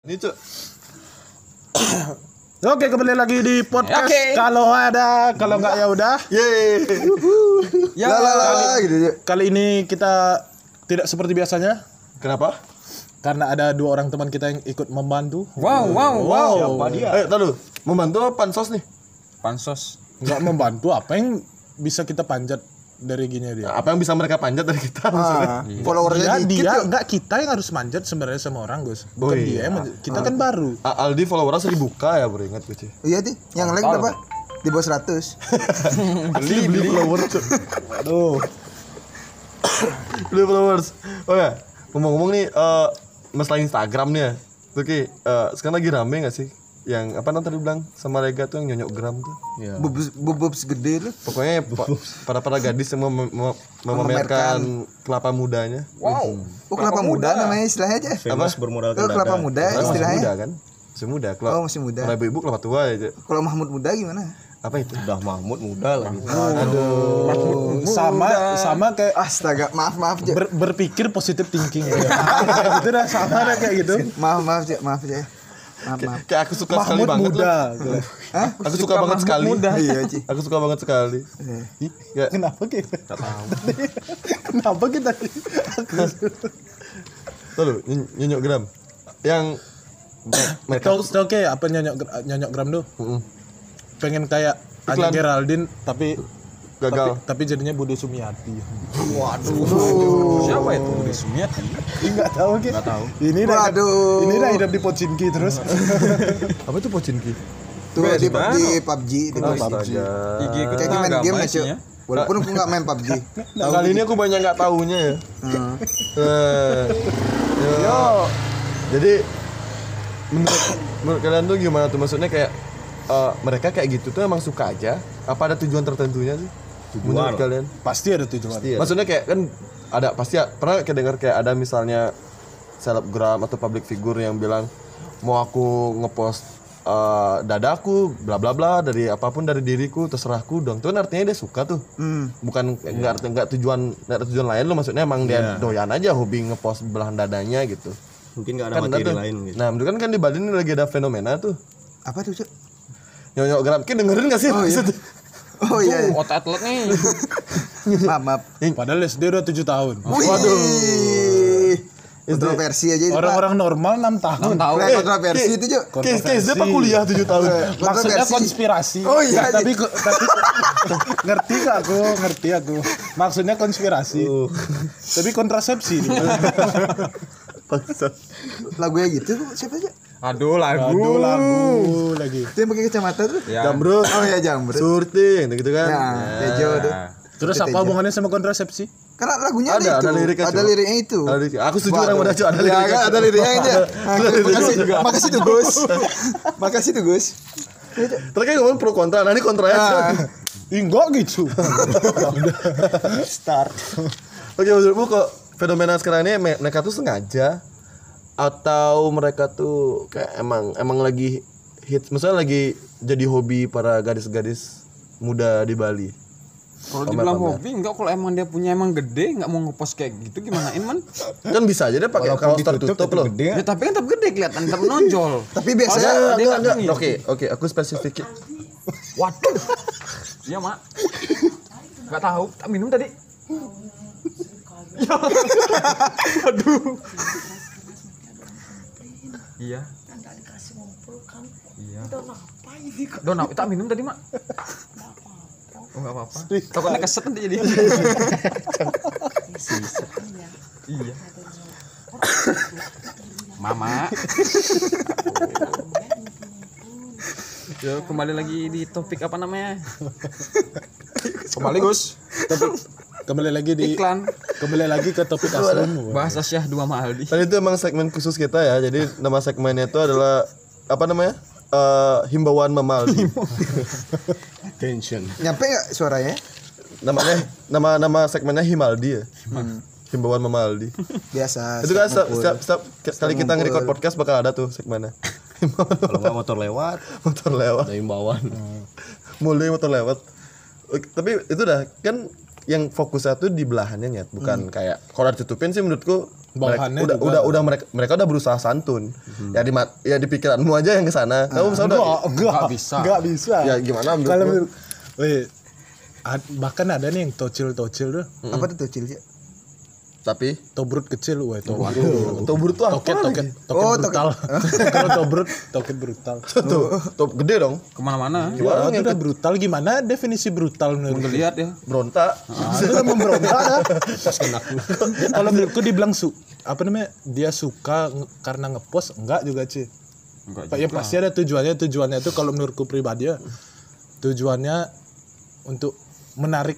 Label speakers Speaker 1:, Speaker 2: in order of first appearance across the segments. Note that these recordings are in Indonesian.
Speaker 1: Ini tuh. Oke kembali lagi di podcast
Speaker 2: Oke.
Speaker 1: kalau ada kalau nggak ya udah
Speaker 3: Yeay.
Speaker 2: Ya,
Speaker 3: La la la la gitu.
Speaker 1: kali ini kita tidak seperti biasanya
Speaker 3: Kenapa?
Speaker 1: karena ada dua orang teman kita yang ikut membantu
Speaker 2: Wow, wow, wow.
Speaker 1: Siapa dia?
Speaker 3: Eh, tahu dulu. Membantu apa pansos nih?
Speaker 2: Pansos.
Speaker 1: nggak membantu apa yang bisa kita panjat dari giginya dia
Speaker 3: Ya, Apa yang bisa mereka panjat dari kita maksudnya?
Speaker 4: Ah, followernya
Speaker 1: Nggak
Speaker 4: dikit
Speaker 1: Iya,
Speaker 4: ya?
Speaker 1: dia
Speaker 4: yuk.
Speaker 1: nggak kita yang harus manjat sebenarnya sama orang Gus
Speaker 3: Oh,
Speaker 1: bukan
Speaker 3: iya.
Speaker 1: dia yang manjat. kita kan baru
Speaker 3: A- Aldi followernya seribu k ya bro ingat gue sih.
Speaker 4: Iya di, yang like berapa? Di bawah 100
Speaker 3: Beli beli follower tuh.
Speaker 1: aduh
Speaker 3: Beli followers. Oh ya, ngomong-ngomong nih eh masalah Instagram nih ya. Tuh Ki, eh, sekarang lagi rame gak sih? Yang apa nanti tadi bilang sama Rega tuh yang nyonyok gram tuh.
Speaker 4: Bubus bubus gede lu
Speaker 3: Pokoknya para para gadis semua mem- mem- memamerkan kelapa mudanya.
Speaker 2: Wow.
Speaker 4: Oh kelapa muda, namanya istilahnya aja
Speaker 5: Famous bermodal Eh,
Speaker 4: Kalau kelapa muda
Speaker 3: Padahal masih muda
Speaker 4: istilahnya
Speaker 3: kan? Masih muda. Kalau
Speaker 4: Oh masih muda
Speaker 3: kalau ibu-ibu kelapa tua ya. Cek.
Speaker 4: Kalau Mahmud muda gimana?
Speaker 3: Apa itu?
Speaker 5: Udah Mahmud muda lagi.
Speaker 3: gitu.
Speaker 1: sama sama kayak
Speaker 4: Astaga maaf maaf Cek
Speaker 1: ber- berpikir positif thinking ya. itu dah sama dah kayak gitu
Speaker 4: Maaf maaf Cek maaf Cek Maaf maaf
Speaker 3: Kayak aku suka sekali
Speaker 1: Mahmud
Speaker 3: banget
Speaker 1: muda gitu. Gila.
Speaker 4: Hah?
Speaker 3: Aku suka banget sekali.
Speaker 4: Iya Cek
Speaker 3: Aku suka banget sekali. Ih, nggak.
Speaker 1: Kenapa kita? Kenapa kita?
Speaker 3: Tuh lu, ny- nyonyok gram. Yang metal.
Speaker 1: Tahu tahu kayak apa nyonyok nyonyok gram tuh? Pengen kayak Anya
Speaker 3: Iklan.
Speaker 1: Geraldine tapi
Speaker 3: Gagal.
Speaker 1: tapi, tapi jadinya Budi Sumiati.
Speaker 2: Siapa itu Budi kan? Sumiati?
Speaker 1: Enggak tahu kayak. Enggak tahu. Ini dah
Speaker 4: Waduh.
Speaker 1: ini dah hidup di Pocinki terus.
Speaker 3: Apa itu pocinki?
Speaker 4: Tuh di, di PUBG di PUBG
Speaker 2: IG ku
Speaker 4: Eh, Kayak
Speaker 2: tuh
Speaker 4: main
Speaker 2: agak
Speaker 4: game ya
Speaker 2: baik
Speaker 4: Cek
Speaker 2: ya.
Speaker 4: Walaupun aku gak main PUBG
Speaker 3: Nah, kali ini aku banyak nggak tahunya ya. Eh, ya. Jadi menurut, menurut kalian tuh gimana tuh maksudnya kayak eh, mereka kayak gitu tuh emang suka aja apa ada tujuan tertentunya sih? Menurut kalian?
Speaker 1: Pasti ada tujuan.
Speaker 5: Iya.
Speaker 3: Maksudnya kayak kan ada pasti ya- pernah kedengar kayak ada misalnya selebgram atau public figure yang bilang mau aku ngepost eh, dadaku bla bla bla dari apapun dari diriku terserahku dong. Itu kan artinya dia suka tuh. Bukan enggak enggak tujuan enggak tujuan lain lo maksudnya emang dia doyan aja hobi ngepost belahan dadanya gitu.
Speaker 5: Mungkin gak ada
Speaker 3: Kan
Speaker 5: materi
Speaker 3: tuh.
Speaker 5: lain gitu.
Speaker 3: Nah, menurut kan kan di Bali ini lagi ada fenomena tuh.
Speaker 4: Apa tuh Cek?
Speaker 3: Nyonyok gram, Ki, dengerin gak sih? maksudnya?
Speaker 4: Oh iya
Speaker 2: Otak atlet nih.
Speaker 4: Maaf maaf
Speaker 1: Padahal SD udah 7 tahun.
Speaker 4: Waduh Kontroversi aja itu Pak
Speaker 1: Orang-orang normal 6 tahun.
Speaker 2: Tahu.
Speaker 4: Kayak
Speaker 3: Iya.
Speaker 4: kontroversi itu Cuk
Speaker 3: Case case dia apa kuliah 7 tahun.
Speaker 1: Maksudnya
Speaker 4: Kontroversi.
Speaker 1: konspirasi.
Speaker 4: Oh,
Speaker 1: Ya,
Speaker 4: iya,
Speaker 1: tapi tapi ngerti gak aku? Ngerti aku. Maksudnya konspirasi. Tapi kontrasepsi.
Speaker 4: lagunya gitu kok, siapa aja
Speaker 2: Aduh lagu.
Speaker 1: Aduh lagu lagi.
Speaker 4: itu yang pakai kacamata tuh
Speaker 3: Iya.
Speaker 2: Ya.
Speaker 3: Jamrut.
Speaker 4: oh ya jamret
Speaker 3: Surti gitu kan.
Speaker 4: nah Tejo tuh
Speaker 1: Terus apa hubungannya sama kontrasepsi?
Speaker 4: karena lagunya
Speaker 3: Ada,
Speaker 4: ada, itu
Speaker 3: ada liriknya,
Speaker 4: ada
Speaker 3: Cuk.
Speaker 4: liriknya itu
Speaker 3: Ada liriknya. Aku setuju
Speaker 4: Waduh.
Speaker 3: orang Mada, Cuk, ada
Speaker 4: Ya,
Speaker 3: liriknya,
Speaker 4: kan, ada
Speaker 3: Cuk.
Speaker 4: liriknya aja Nah,
Speaker 3: Ada liriknya
Speaker 4: makasih
Speaker 3: juga.
Speaker 4: makasih tuh Gus makasih tuh Gus
Speaker 3: Terus kan ngomong pro kontra, nah ini kontra aja.
Speaker 1: Ih, enggak gitu.
Speaker 4: start
Speaker 3: Oke, menurutmu kok fenomena sekarang ini me- mereka tuh sengaja atau mereka tuh kayak emang emang lagi hits, misalnya lagi jadi hobi para gadis-gadis muda di Bali.
Speaker 2: Kalau dibilang hobi enggak kalau emang dia punya emang gede enggak mau ngepost kayak gitu gimana man?
Speaker 3: Kan bisa aja dia pakai kaos tertutup loh.
Speaker 2: Ya tapi kan tetap gede kelihatan tetap nonjol.
Speaker 4: Iya. tapi biasanya
Speaker 2: Padahal dia kan
Speaker 3: Enggak,
Speaker 2: enggak
Speaker 3: enggak.
Speaker 2: tinggi.
Speaker 3: Oke, oke, aku spesifikin.
Speaker 2: Waduh. Iya, Mak. Enggak tahu, tak minum tadi. Ya. Aduh. Iya. Iya. Donat, tak minum tadi, Mak. Oh, enggak apa-apa. Takutnya keset nanti jadi. Iya. Mama. Yo, kembali lagi di topik apa namanya? kembali Gus.
Speaker 1: Tapi kembali lagi di
Speaker 2: Iklan.
Speaker 1: kembali lagi ke topik aslimu.
Speaker 2: Bahasa Syah dua mahal di.
Speaker 3: Tadi itu emang segmen khusus kita ya. Jadi nama segmennya itu adalah apa namanya? Eh, himbauan Mamaldi.
Speaker 5: Tension.
Speaker 4: nyampe nggak suaranya
Speaker 3: namanya nama nama segmennya Himaldi ya. Himbauan Mamaldi.
Speaker 4: biasa
Speaker 3: Itu kan setiap, setiap, setiap kali kita nge-record podcast bakal ada tuh segmennya.
Speaker 5: Kalau nggak motor lewat,
Speaker 3: motor lewat.
Speaker 5: ada himbauan.
Speaker 3: Mulai motor lewat. Oke, Tapi itu dah kan yang fokusnya tuh di belahannya nyet, bukan kayak kalau ditutupin sih menurutku Mereka,
Speaker 1: Bawahannya
Speaker 3: udah,
Speaker 1: Hmm. juga. Hmm.
Speaker 3: udah udah mereka mereka udah berusaha santun. Ya di mat- ya di pikiranmu aja yang ke sana. Kamu misalnya udah
Speaker 1: Ah. Enggak, enggak,
Speaker 2: Nggak bisa.
Speaker 1: Enggak bisa.
Speaker 3: Ya, gimana menurut
Speaker 1: Kalau
Speaker 3: lu?
Speaker 1: menurut- Weh, ad- bahkan ada nih yang tocil-tocil tuh,
Speaker 4: Apa
Speaker 3: Mm.
Speaker 4: tuh tuh cilnya?
Speaker 3: tapi
Speaker 1: tobrut kecil, weh, tobrut.
Speaker 3: tobur tuh apa
Speaker 1: Toket,
Speaker 3: lagi?
Speaker 1: toket, toket
Speaker 4: Oh,
Speaker 1: brutal. Kalau tobrut, toket brutal.
Speaker 3: Tuh, top gede dong.
Speaker 2: Kemana-mana.
Speaker 1: Wah,
Speaker 3: Gimana
Speaker 1: itu
Speaker 3: yang
Speaker 1: udah brutal gimana definisi brutal menurut lu?
Speaker 2: Ngeliat ya.
Speaker 3: berontak?
Speaker 1: Ah, itu udah memberontak ya. Kalau menurutku dibilang su apa namanya dia suka nge- karena ngepost enggak juga sih.
Speaker 2: Enggak
Speaker 1: Ya pasti ada tujuannya tujuannya itu kalau menurutku pribadi ya tujuannya untuk menarik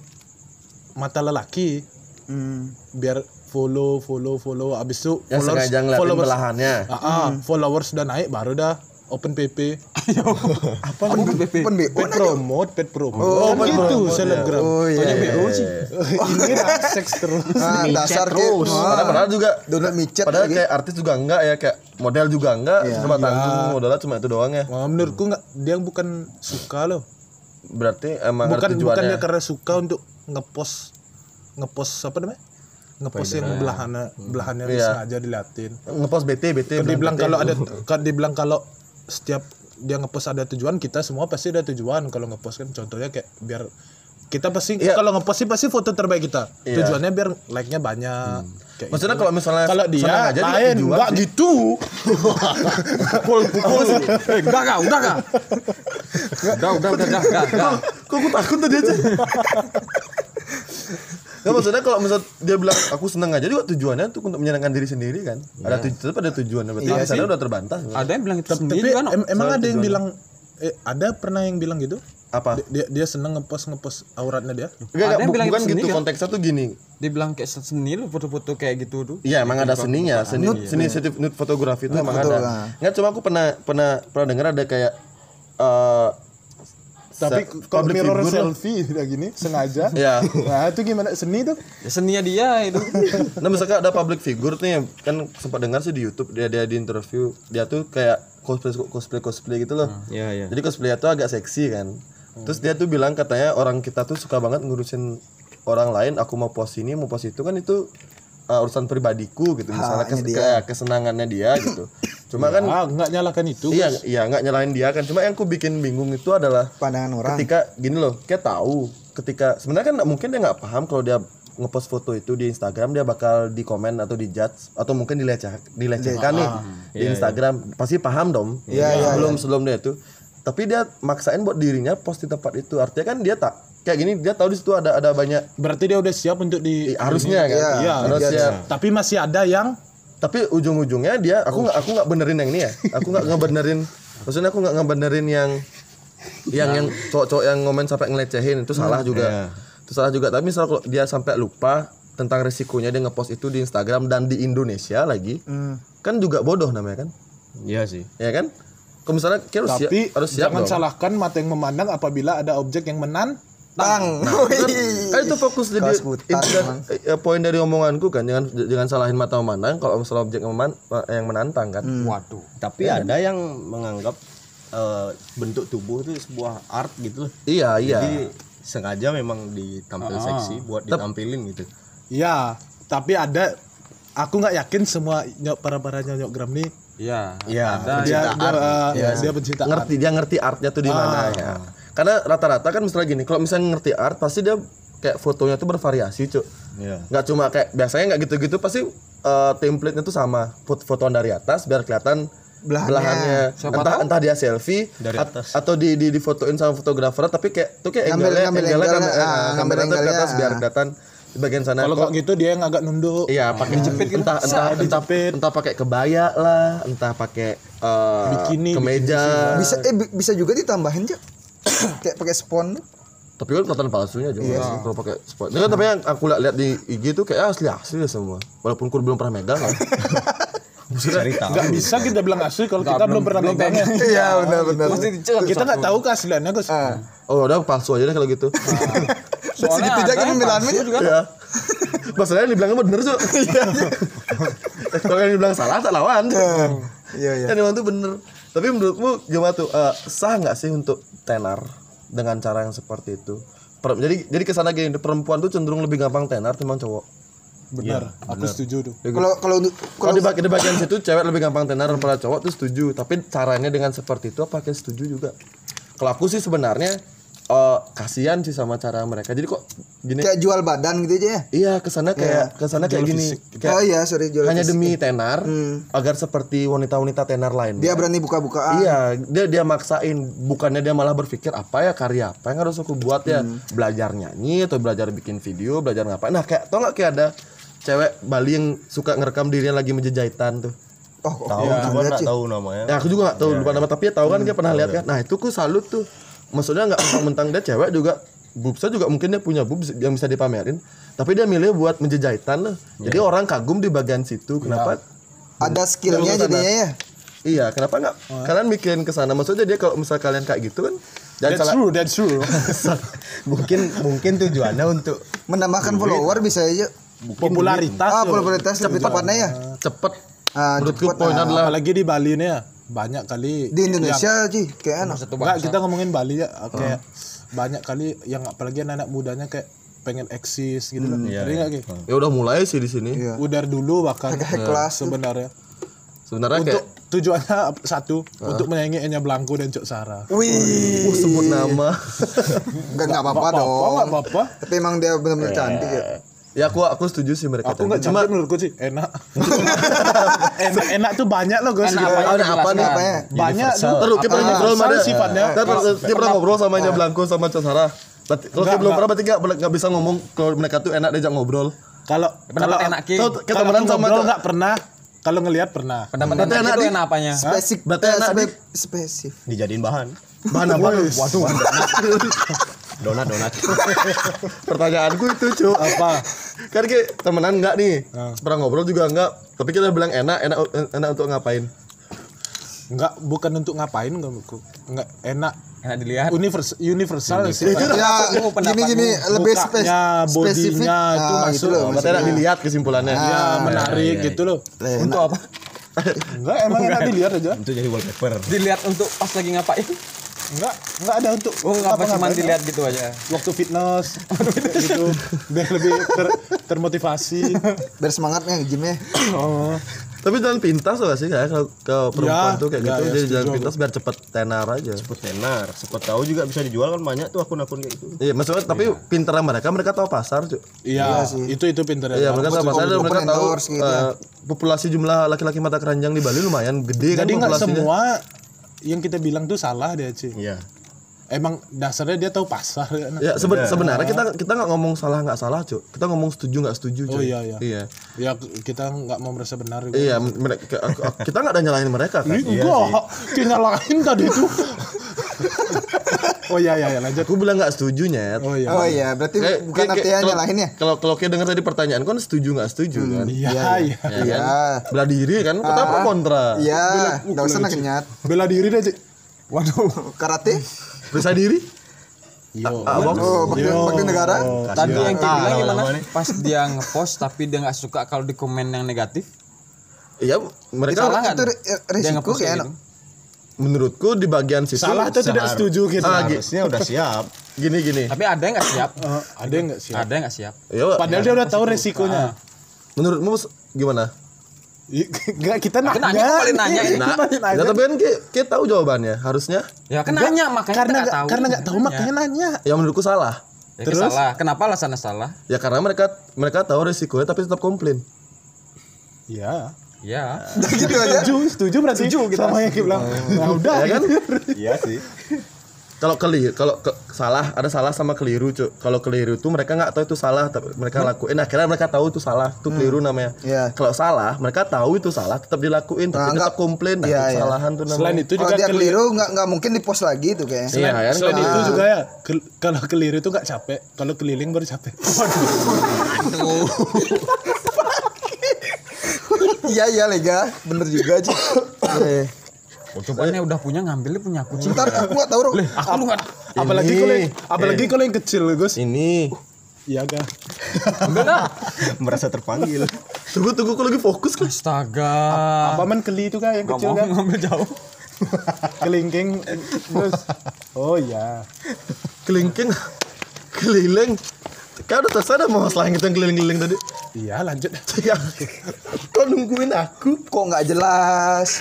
Speaker 1: mata lelaki
Speaker 4: Hmm.
Speaker 1: biar follow follow follow abis itu
Speaker 3: Yang
Speaker 1: followers-
Speaker 3: sengaja ngeliatin
Speaker 1: followers-
Speaker 3: belahannya.
Speaker 1: Ah, ah, followers udah naik baru dah open PP
Speaker 4: Apa pen pen BO
Speaker 1: pet promote pet promote oh, kan gitu selebgram
Speaker 4: Oh iya. iya.
Speaker 1: ini dah seks terus
Speaker 4: Ah, dasar terus.
Speaker 3: Padahal, padahal juga
Speaker 4: Download micet
Speaker 3: Padahal
Speaker 4: lagi.
Speaker 3: kayak artis juga enggak ya, kayak model juga enggak, cuma tanggung modalnya cuma itu doang ya.
Speaker 1: Wah, menurutku nggak dia bukan suka loh
Speaker 3: Berarti emang ya? ada
Speaker 1: bukan bukan
Speaker 3: tujuannya.
Speaker 1: dia karena suka untuk ngepost ngepost apa namanya ngepost yang belahannya belahannya
Speaker 3: Iya.
Speaker 1: sengaja diliatin
Speaker 3: Ngepost BT BT.
Speaker 1: Kalau
Speaker 3: bilang
Speaker 1: dibilang
Speaker 3: BT.
Speaker 1: kalau ada kan dibilang kalau setiap dia ngepost ada tujuan kita semua pasti ada tujuan kalau ngepost kan contohnya kayak biar kita pasti
Speaker 3: Iya.
Speaker 1: kalau ngepost sih pasti foto terbaik kita
Speaker 3: Iya.
Speaker 1: tujuannya biar like nya banyak kayak gitu.
Speaker 3: Maksudnya kalau misalnya
Speaker 1: kalau dia
Speaker 3: senang aja dia
Speaker 1: lain
Speaker 3: tujuan
Speaker 1: nggak
Speaker 3: sih.
Speaker 1: gitu pukul pukul
Speaker 2: Eh, udah gak, udah gak. Udah, udah, udah, udah, udah, udah.
Speaker 3: Kok aku takut tadi aja? Nggak, maksudnya kalau misal dia bilang aku seneng aja juga tujuannya untuk untuk menyenangkan diri sendiri kan. Ada tujuan tetap ada tujuannya berarti
Speaker 4: Iya
Speaker 3: alasannya udah terbantah. sebenarnya.
Speaker 2: Ada yang bilang itu
Speaker 1: tapi
Speaker 2: sendiri kan.
Speaker 1: em- emang ada yang bilang eh, ada pernah yang bilang gitu
Speaker 3: Apa?
Speaker 1: Dia- dia dia seneng ngepost ngepost auratnya dia
Speaker 3: Enggak,
Speaker 2: Ada yang
Speaker 3: enggak, bu-
Speaker 2: bilang
Speaker 3: bukan
Speaker 2: itu
Speaker 3: gitu
Speaker 2: sendiri.
Speaker 3: konteksnya tuh gini.
Speaker 2: Dia bilang kayak seni loh foto-foto kayak gitu tuh.
Speaker 3: Iya, emang ada seninya, seni seni sensitif nude fotografi itu emang
Speaker 4: foto,
Speaker 3: ada.
Speaker 4: ah.
Speaker 3: Enggak cuma aku pernah pernah pernah dengar ada kayak eh
Speaker 1: tapi
Speaker 3: se-
Speaker 1: kalau
Speaker 3: public
Speaker 1: mirror
Speaker 3: figure lah.
Speaker 1: selfie udah gini sengaja
Speaker 3: Iya.
Speaker 1: nah itu gimana seni tuh
Speaker 2: Ya seninya dia itu.
Speaker 3: Nah misalkan ada public figure nih kan sempat dengar sih di YouTube dia dia di interview dia tuh kayak cosplay cosplay cosplay gitu loh.
Speaker 5: Iya, iya.
Speaker 3: Jadi cosplay tuh agak seksi kan. Terus dia tuh bilang katanya orang kita tuh suka banget ngurusin orang lain. Aku mau post ini mau post itu kan itu uh, urusan pribadiku gitu misalnya kes- kayak kesenangannya dia gitu. Cuma kan
Speaker 1: ah nggak nyalakan itu
Speaker 3: iya iya nggak nyalahin dia kan. Cuma yang aku bikin bingung itu adalah
Speaker 4: Pandangan orang.
Speaker 3: ketika gini loh kayak tahu ketika sebenarnya kan nggak mungkin dia nggak paham kalau dia ngepost foto itu di Instagram dia bakal di komen atau di judge atau mungkin dileceh dilecehkan
Speaker 1: Ah,
Speaker 3: nih
Speaker 1: Iya,
Speaker 3: di Instagram pasti paham dong sebelum sebelum dia itu tapi dia maksain buat dirinya post di tempat itu artinya kan dia tak kayak gini dia tahu di situ ada ada banyak
Speaker 1: berarti dia udah siap untuk di
Speaker 3: i- harusnya kan
Speaker 1: Iya,
Speaker 3: harusnya
Speaker 1: tapi masih ada yang
Speaker 3: tapi ujung-ujungnya dia aku nggak aku nggak benerin yang ini ya aku nggak ngebenerin maksudnya aku nggak ngebenerin yang yang yang cowok-cowok yang ngomen sampai ngelecehin itu
Speaker 5: Hmm,
Speaker 3: salah juga
Speaker 5: iya.
Speaker 3: itu salah juga tapi misal kalau dia sampai lupa tentang resikonya dia ngepost itu di Instagram dan di Indonesia lagi
Speaker 4: Hmm.
Speaker 3: kan juga bodoh namanya kan
Speaker 5: Iya sih.
Speaker 3: ya kan kalau misalnya kita harus siap,
Speaker 1: tapi
Speaker 3: harus siap
Speaker 1: jangan
Speaker 3: dong.
Speaker 1: salahkan mata yang memandang apabila ada objek yang menan
Speaker 4: Tang.
Speaker 3: kan itu fokus jadi
Speaker 4: Kaos buta,
Speaker 3: itu kan,
Speaker 4: emang.
Speaker 3: eh, poin dari omonganku kan jangan jangan salahin mata memandang kalau misalnya objek yang meman- yang menantang kan
Speaker 2: Waduh.
Speaker 5: Tapi ada yang menganggap eh, bentuk tubuh itu sebuah art gitu loh.
Speaker 3: iya iya
Speaker 5: Jadi sengaja memang ditampil seksi buat ditampilin gitu.
Speaker 1: ya tapi ada aku nggak yakin semua nyok para para nyok gram nih
Speaker 2: Iya.
Speaker 5: Iya.
Speaker 2: Ada
Speaker 1: dia dia, eh, dia pencinta art.
Speaker 3: ngerti dia ngerti artnya tuh di
Speaker 4: Ah.
Speaker 3: mana ya karena rata-rata kan misalnya gini kalau misalnya ngerti art pasti dia kayak fotonya tuh bervariasi cuk
Speaker 5: Iya.
Speaker 3: nggak cuma kayak biasanya nggak gitu-gitu pasti eh, template-nya tuh sama Fot- fotoan dari atas biar kelihatan
Speaker 4: Belahannya.
Speaker 3: belahannya
Speaker 2: Siapa
Speaker 3: entah
Speaker 2: tahu?
Speaker 3: entah dia selfie
Speaker 5: Dari
Speaker 3: at-
Speaker 5: atas.
Speaker 3: atau di di difotoin sama fotografer tapi kayak tuh kayak
Speaker 4: Ngambil-
Speaker 3: angle-nya-
Speaker 4: ngambil
Speaker 3: angle-nya
Speaker 4: angle-nya,
Speaker 3: kan, eh,
Speaker 4: ah,
Speaker 3: kameranya
Speaker 4: ngambil
Speaker 3: tuh ke atas
Speaker 4: angle-nya,
Speaker 3: biar
Speaker 4: ah.
Speaker 3: kelihatan di bagian sana
Speaker 1: kalau
Speaker 3: Kok-
Speaker 1: kok gitu dia yang agak nunduk
Speaker 3: Iya, pakai entah entah entah
Speaker 1: dijepit.
Speaker 3: entah pakai kebaya lah, entah pakai eh,
Speaker 1: Bikini,
Speaker 3: kemeja.
Speaker 4: Bisa eh bi- bisa juga ditambahin, Cok. Kayak pakai spons.
Speaker 3: Tapi kan kelihatan palsunya juga sih,
Speaker 4: Iya.
Speaker 3: kalau pakai spot. Nah, tapi yang aku lihat lihat di IG tuh kayak asli asli semua. Walaupun kur belum pernah megang kan.
Speaker 5: Cari tahu.
Speaker 1: nggak bisa kita bilang asli kalau kita belum pernah megangnya
Speaker 4: Iya, benar-benar.
Speaker 2: Mesti dicek.
Speaker 1: kita nggak tahu keasliannya Gus
Speaker 3: Oh, udah palsu aja deh kalau gitu.
Speaker 2: Soalnya
Speaker 4: Sedikit aja
Speaker 2: ada yang
Speaker 4: pembelaan
Speaker 2: palsu
Speaker 4: ini.
Speaker 2: juga.
Speaker 3: Iya. Masalahnya yang dibilangnya bener tuh. Kalau yang dibilang salah tak lawan.
Speaker 4: Iya, iya.
Speaker 3: Yang dibilang tuh bener. Tapi menurutmu gimana tuh? eh, sah nggak sih untuk tenar dengan cara yang seperti itu? Per- jadi jadi kesana gini, perempuan tuh cenderung lebih gampang tenar timbang cowok.
Speaker 1: Iya, benar. Aku setuju tuh.
Speaker 4: Kalau kalau untuk
Speaker 3: Kalau
Speaker 4: kalau
Speaker 3: di, bag- di bagian situ cewek lebih gampang tenar daripada cowok tuh setuju. Tapi caranya dengan seperti itu apa kayak setuju juga. Kalau aku sih sebenarnya eh, kasihan sih sama cara mereka. Jadi kok gini?
Speaker 4: kayak jual badan gitu aja ya.
Speaker 3: Iya kesana kayak kesana kayak gini. Kayak
Speaker 4: oh iya, sorry jual.
Speaker 3: hanya
Speaker 4: fisik.
Speaker 3: demi tenar agar seperti wanita-wanita tenar lain.
Speaker 4: Hmm. Dia berani buka-bukaan.
Speaker 3: Iya, dia dia maksain bukannya dia malah berpikir apa ya karya apa yang harus aku buat ya
Speaker 4: Hmm.
Speaker 3: belajar nyanyi atau belajar bikin video belajar ngapain. Nah kayak tau nggak kayak ada cewek Bali yang suka ngerekam dirinya lagi menjejahitan tuh.
Speaker 4: Oh, kok
Speaker 5: tahu
Speaker 4: belum
Speaker 5: cuma
Speaker 4: lihat
Speaker 5: nggak
Speaker 4: sih.
Speaker 5: tahu namanya
Speaker 3: Ya aku juga nggak
Speaker 1: Iya,
Speaker 3: tahu lupa nama tapi ya tahu kan
Speaker 1: Hmm,
Speaker 3: dia pernah lihat kan. Nah itu ku salut tuh. Maksudnya nggak mentang-mentang dia cewek juga boobsnya juga mungkin dia punya boobs yang bisa dipamerin. Tapi dia milih buat menjejahitan loh. Jadi
Speaker 1: Iya.
Speaker 3: orang kagum di bagian situ. Kenapa?
Speaker 4: Ada skillnya
Speaker 3: Belum
Speaker 4: jadinya ya.
Speaker 3: Iya, kenapa nggak? Kalian mikirin ke sana. Maksudnya dia kalau misal kalian kayak gitu kan, jangan
Speaker 1: That's
Speaker 3: salah.
Speaker 1: true, that's true.
Speaker 5: mungkin mungkin tujuannya untuk
Speaker 4: Menambahkan follower bisa aja.
Speaker 1: Popularitas.
Speaker 4: Ah,
Speaker 1: tuh.
Speaker 4: popularitas lebih tepatnya ya.
Speaker 3: Cepet.
Speaker 4: Ah,
Speaker 3: Menurutku
Speaker 4: cepet,
Speaker 3: poin
Speaker 4: ah.
Speaker 3: adalah
Speaker 1: Apalagi di Bali nih ya, banyak kali
Speaker 4: Di Indonesia sih kayak enak.
Speaker 1: Enggak, kita ngomongin Bali ya kayak
Speaker 2: Hmm.
Speaker 1: banyak kali yang apalagi anak-anak mudanya kayak pengen eksis gitu loh. Jadi nggak, Ki?
Speaker 3: ya udah mulai sih di sini.
Speaker 4: Iya.
Speaker 1: Udar dulu bahkan
Speaker 4: Kayak kelas tuh.
Speaker 1: sebenarnya.
Speaker 3: Sebenarnya
Speaker 1: Untuk
Speaker 3: kayak
Speaker 1: tujuannya satu untuk menyaingi Enya Blanco dan Cok Sara.
Speaker 4: Wih,
Speaker 3: uh, sebut nama.
Speaker 4: enggak enggak apa-apa
Speaker 1: Apa
Speaker 4: dong.
Speaker 1: nggak apa-apa?
Speaker 4: Tapi emang dia benar-benar cantik ya.
Speaker 3: ya aku aku setuju sih mereka. gitu.
Speaker 1: Aku nggak cantik menurutku sih enak. enak enak tuh banyak loh guys.
Speaker 5: apa
Speaker 3: Oh, ada apa nih?
Speaker 4: Apa ya?
Speaker 1: Banyak tuh.
Speaker 3: Terus kita pernah ngobrol sama
Speaker 1: universal
Speaker 3: dia.
Speaker 1: sifatnya.
Speaker 3: Ntar, Kita pernah ngobrol sama Nya Blanco sama Casara. Kalau
Speaker 1: Eh. Enggak,
Speaker 3: kita belum
Speaker 1: enggak.
Speaker 3: pernah berarti nggak nggak bisa ngomong kalau mereka tuh enak diajak ngobrol.
Speaker 1: Kalau kalau
Speaker 2: enak, Ki.
Speaker 3: Tau,
Speaker 1: kalau
Speaker 3: Ketemenan
Speaker 1: aku
Speaker 3: sama
Speaker 1: ngobrol nggak pernah. Kalau ngelihat pernah.
Speaker 2: Pendapat
Speaker 3: Berarti
Speaker 2: enak
Speaker 3: enak
Speaker 2: itu
Speaker 3: di-
Speaker 2: enak
Speaker 6: Iya.
Speaker 2: apanya?
Speaker 4: Spesifik. eh,
Speaker 3: Berarti enak, Di.
Speaker 4: spesifik.
Speaker 5: dijadiin bahan
Speaker 3: mana bang? Waduh.
Speaker 5: donat donat
Speaker 3: Pertanyaanku itu cuy.
Speaker 1: Apa? Ah.
Speaker 3: kan kayak temenan nggak nih pernah ngobrol juga nggak tapi kita bilang enak enak enak untuk ngapain
Speaker 1: Enggak bukan untuk ngapain menurutku. Enggak enak
Speaker 2: Enak dilihat.
Speaker 1: universal universal sih.
Speaker 4: Ya,
Speaker 2: Kamu pendapat
Speaker 4: gini gini
Speaker 1: Bukanya,
Speaker 4: lebih spes- spesifik.
Speaker 1: bodinya itu
Speaker 4: Ah,
Speaker 1: maksud-
Speaker 4: gitu loh,
Speaker 3: berarti enak dilihat kesimpulannya Iya.
Speaker 1: ya menarik gitu loh.
Speaker 4: Enak.
Speaker 2: Untuk apa?
Speaker 1: Enggak emang enak dilihat aja.
Speaker 5: untuk jadi wallpaper
Speaker 2: Dilihat untuk pas lagi ngapain?
Speaker 1: Enggak enggak ada untuk
Speaker 2: Oh, enggak apa cuman
Speaker 1: ngapa-ngapain.
Speaker 2: dilihat gitu aja.
Speaker 1: waktu fitness gitu biar lebih ter- termotivasi.
Speaker 4: Biar semangatnya ya? gymnya.
Speaker 1: Oh.
Speaker 3: tapi jangan pintas loh sih kayak kalau ke perempuan
Speaker 1: Ya,
Speaker 3: tuh kayak
Speaker 1: ya,
Speaker 3: gitu
Speaker 1: ya,
Speaker 3: jadi
Speaker 1: setuju
Speaker 3: jangan
Speaker 1: aku.
Speaker 3: pintas biar cepet tenar aja
Speaker 5: Ikut tenar siapa tahu juga bisa dijual kan banyak tuh akun-akun kayak gitu
Speaker 3: iya maksudnya tapi pintar mereka mereka tahu pasar cuy
Speaker 1: Iya, itu itu pintar
Speaker 3: iya mereka tahu pasar dan
Speaker 4: open
Speaker 3: mereka tahu
Speaker 4: endorse gitu ya.
Speaker 3: eh, populasi jumlah laki-laki mata keranjang di Bali lumayan gede kan
Speaker 1: Jadi nggak
Speaker 3: populasinya
Speaker 1: semua yang kita bilang tuh salah dia, Ci.
Speaker 5: iya
Speaker 1: Emang dasarnya dia tahu pasar ya. Nah.
Speaker 3: Ya seben- sebenarnya kita kita nggak ngomong salah nggak salah cuy, kita ngomong setuju nggak setuju cuy.
Speaker 1: Oh, iya, iya.
Speaker 3: iya.
Speaker 1: Ya kita nggak mau merasa benar juga.
Speaker 3: Iya, mereka, aku- aku- kita nggak ada nyalahin mereka kan.
Speaker 1: Ih, enggak, kenyalain tadi itu. oh iya iya iya, lanjut.
Speaker 3: Aku bilang nggak setuju nyet.
Speaker 1: Oh iya.
Speaker 4: Oh iya, berarti
Speaker 3: Kayak-
Speaker 4: bukan
Speaker 3: kayak-
Speaker 4: artinya
Speaker 3: kalau-
Speaker 4: nyalahin ya.
Speaker 3: Kalau kalau kayak dengar tadi pertanyaan kan setuju nggak setuju kan?
Speaker 1: Iya iya. Ah.
Speaker 3: Ya
Speaker 4: Iya.
Speaker 3: kan? Belah diri kan, kenapa kontra?
Speaker 4: Iya, enggak usah nanya.
Speaker 1: Bela diri deh, Cik.
Speaker 4: Waduh, karate?
Speaker 3: Periksa diri?
Speaker 1: Yo.
Speaker 3: Ah, box.
Speaker 4: Oh, bakti, bakti negara.
Speaker 1: oh,
Speaker 2: Tadi yang kita bilang gimana?
Speaker 5: lama-lama
Speaker 2: Pas dia ngepost tapi dia nggak suka kalau di komen yang negatif.
Speaker 3: Iya, mereka
Speaker 2: salah nggak
Speaker 4: Itu
Speaker 2: tuh?
Speaker 4: re-
Speaker 2: Dia
Speaker 4: resiko
Speaker 2: ngepost
Speaker 4: kayak
Speaker 2: kayak
Speaker 4: enak.
Speaker 2: gitu.
Speaker 3: menurutku di bagian situ
Speaker 1: Salah atau tidak
Speaker 5: Sehar-
Speaker 1: setuju gitu.
Speaker 3: Ah, gi-
Speaker 5: harusnya udah siap
Speaker 3: gini gini.
Speaker 2: Tapi ada yang nggak siap.
Speaker 1: Eh, ada Ah. yang nggak sih?
Speaker 2: Ada yang nggak siap.
Speaker 3: Ya,
Speaker 1: Padahal dia udah tahu resikonya.
Speaker 3: menurutmu s- gimana?
Speaker 1: Enggak kita
Speaker 2: Aku
Speaker 1: nanya.
Speaker 2: nanya, aku paling nanya ini.
Speaker 1: Nah,
Speaker 3: Ya, tapi kan ki- kita tahu jawabannya, harusnya
Speaker 2: Ya kan nanya makanya kita
Speaker 1: karena
Speaker 2: nggak
Speaker 1: nggak
Speaker 2: tahu.
Speaker 1: karena nggak tahu Iya. makanya nanya.
Speaker 3: yang menurutku salah.
Speaker 2: Ya, kan salah. Kenapa alasannya salah?
Speaker 3: Ya karena mereka mereka tahu resikonya tapi tetap komplain.
Speaker 1: Iya.
Speaker 2: Ya.
Speaker 1: gitu aja. Setuju, setuju berarti. Setuju kita. Sama yang bilang. Nah,
Speaker 3: Ya
Speaker 1: udah
Speaker 3: kan?
Speaker 5: iya sih
Speaker 3: Kalau keliru, kalau ke- salah ada salah sama keliru, Cuk. Kalau keliru tuh mereka nggak tahu itu salah, tapi mereka lakuin. Nah, Akhirnya mereka tahu itu salah, itu keliru namanya.
Speaker 4: Iya.
Speaker 3: Kalau salah, mereka tahu itu salah, tetap dilakuin, tapi
Speaker 4: Nah,
Speaker 3: tetap
Speaker 4: nggak-
Speaker 3: komplain. Nah,
Speaker 4: Iya,
Speaker 3: itu
Speaker 4: iya.
Speaker 3: kesalahan tuh namanya.
Speaker 1: Selain itu
Speaker 4: Kalau
Speaker 1: juga
Speaker 4: dia
Speaker 1: keliru.
Speaker 4: keliru nggak nggak mungkin di post lagi tuh kayaknya.
Speaker 3: Iya, kan?
Speaker 1: Selain itu juga ya, kel- kalau keliru itu nggak capek, kalau keliling baru capek.
Speaker 4: Iya iya Lega, bener juga aja. Eh,
Speaker 2: Cobanya udah punya ngambilnya punya aku. Ci.
Speaker 4: Bentar aku nggak tahu Ruk.
Speaker 2: Aku lu nggak
Speaker 1: apalagi kalau yang, apalagi kalau yang kecil, Gus.
Speaker 3: Ini.
Speaker 1: Iya kan?
Speaker 2: ambil dah.
Speaker 5: merasa terpanggil
Speaker 3: Tunggu tunggu aku lagi fokus kan.
Speaker 2: Astaga.
Speaker 1: Apa man keli itu kan yang
Speaker 2: Nggak
Speaker 1: kecil
Speaker 2: mau
Speaker 1: kan?
Speaker 2: ngambil jauh.
Speaker 1: Kelingking, eh, Gus. Oh iya.
Speaker 3: Kelingking. Keliling. Kan udah selesai dah mau masalah yang kita keliling-keliling tadi.
Speaker 1: Iya lanjut.
Speaker 5: Kau nungguin
Speaker 3: ah.
Speaker 5: aku.
Speaker 4: Kok nggak jelas?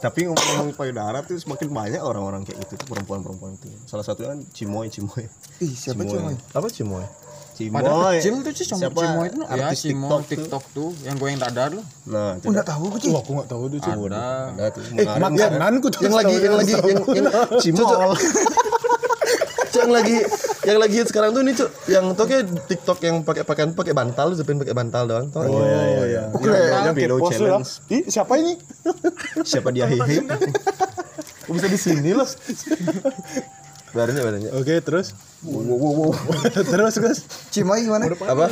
Speaker 5: Tapi ngomong-ngomong payudara tuh semakin banyak orang-orang kayak gitu tuh perempuan-perempuan itu. Salah satunya kan Cimoy, Cimoy.
Speaker 4: Ih, siapa cuman?
Speaker 3: Apa cimoy?
Speaker 5: Cimoy.
Speaker 2: Padahal kecil tuh sih sama
Speaker 5: Siapa?
Speaker 2: Cimo itu ya
Speaker 5: artis
Speaker 2: Cimo
Speaker 5: TikTok,
Speaker 2: TikTok, tuh yang goyang dadar lu.
Speaker 5: Nah,
Speaker 4: Oh, nggak tahu aku sih.
Speaker 1: Wah aku nggak tahu tuh cuy.
Speaker 2: Ada.
Speaker 5: Ada tuh
Speaker 1: Eh
Speaker 5: menarik.
Speaker 1: makananku tuh
Speaker 3: Yang lagi, yang lagi, yang, yang,
Speaker 5: Cimol.
Speaker 3: yang lagi, yang lagi hit sekarang tuh ini cuk, yang tau kayak TikTok yang pakai pakaian pakai bantal, Zepin pakai bantal doang. Tau nggak?
Speaker 1: Oh iya.
Speaker 5: Yang
Speaker 1: Kayak
Speaker 5: video
Speaker 1: pos lu,
Speaker 5: challenge.
Speaker 1: ya. Ih, siapa ini?
Speaker 5: Siapa dia hehe?
Speaker 3: Kok bisa di sini loh? Barunya, barunya.
Speaker 1: Oke terus. terus terus.
Speaker 4: Cimai gimana?
Speaker 3: Apa?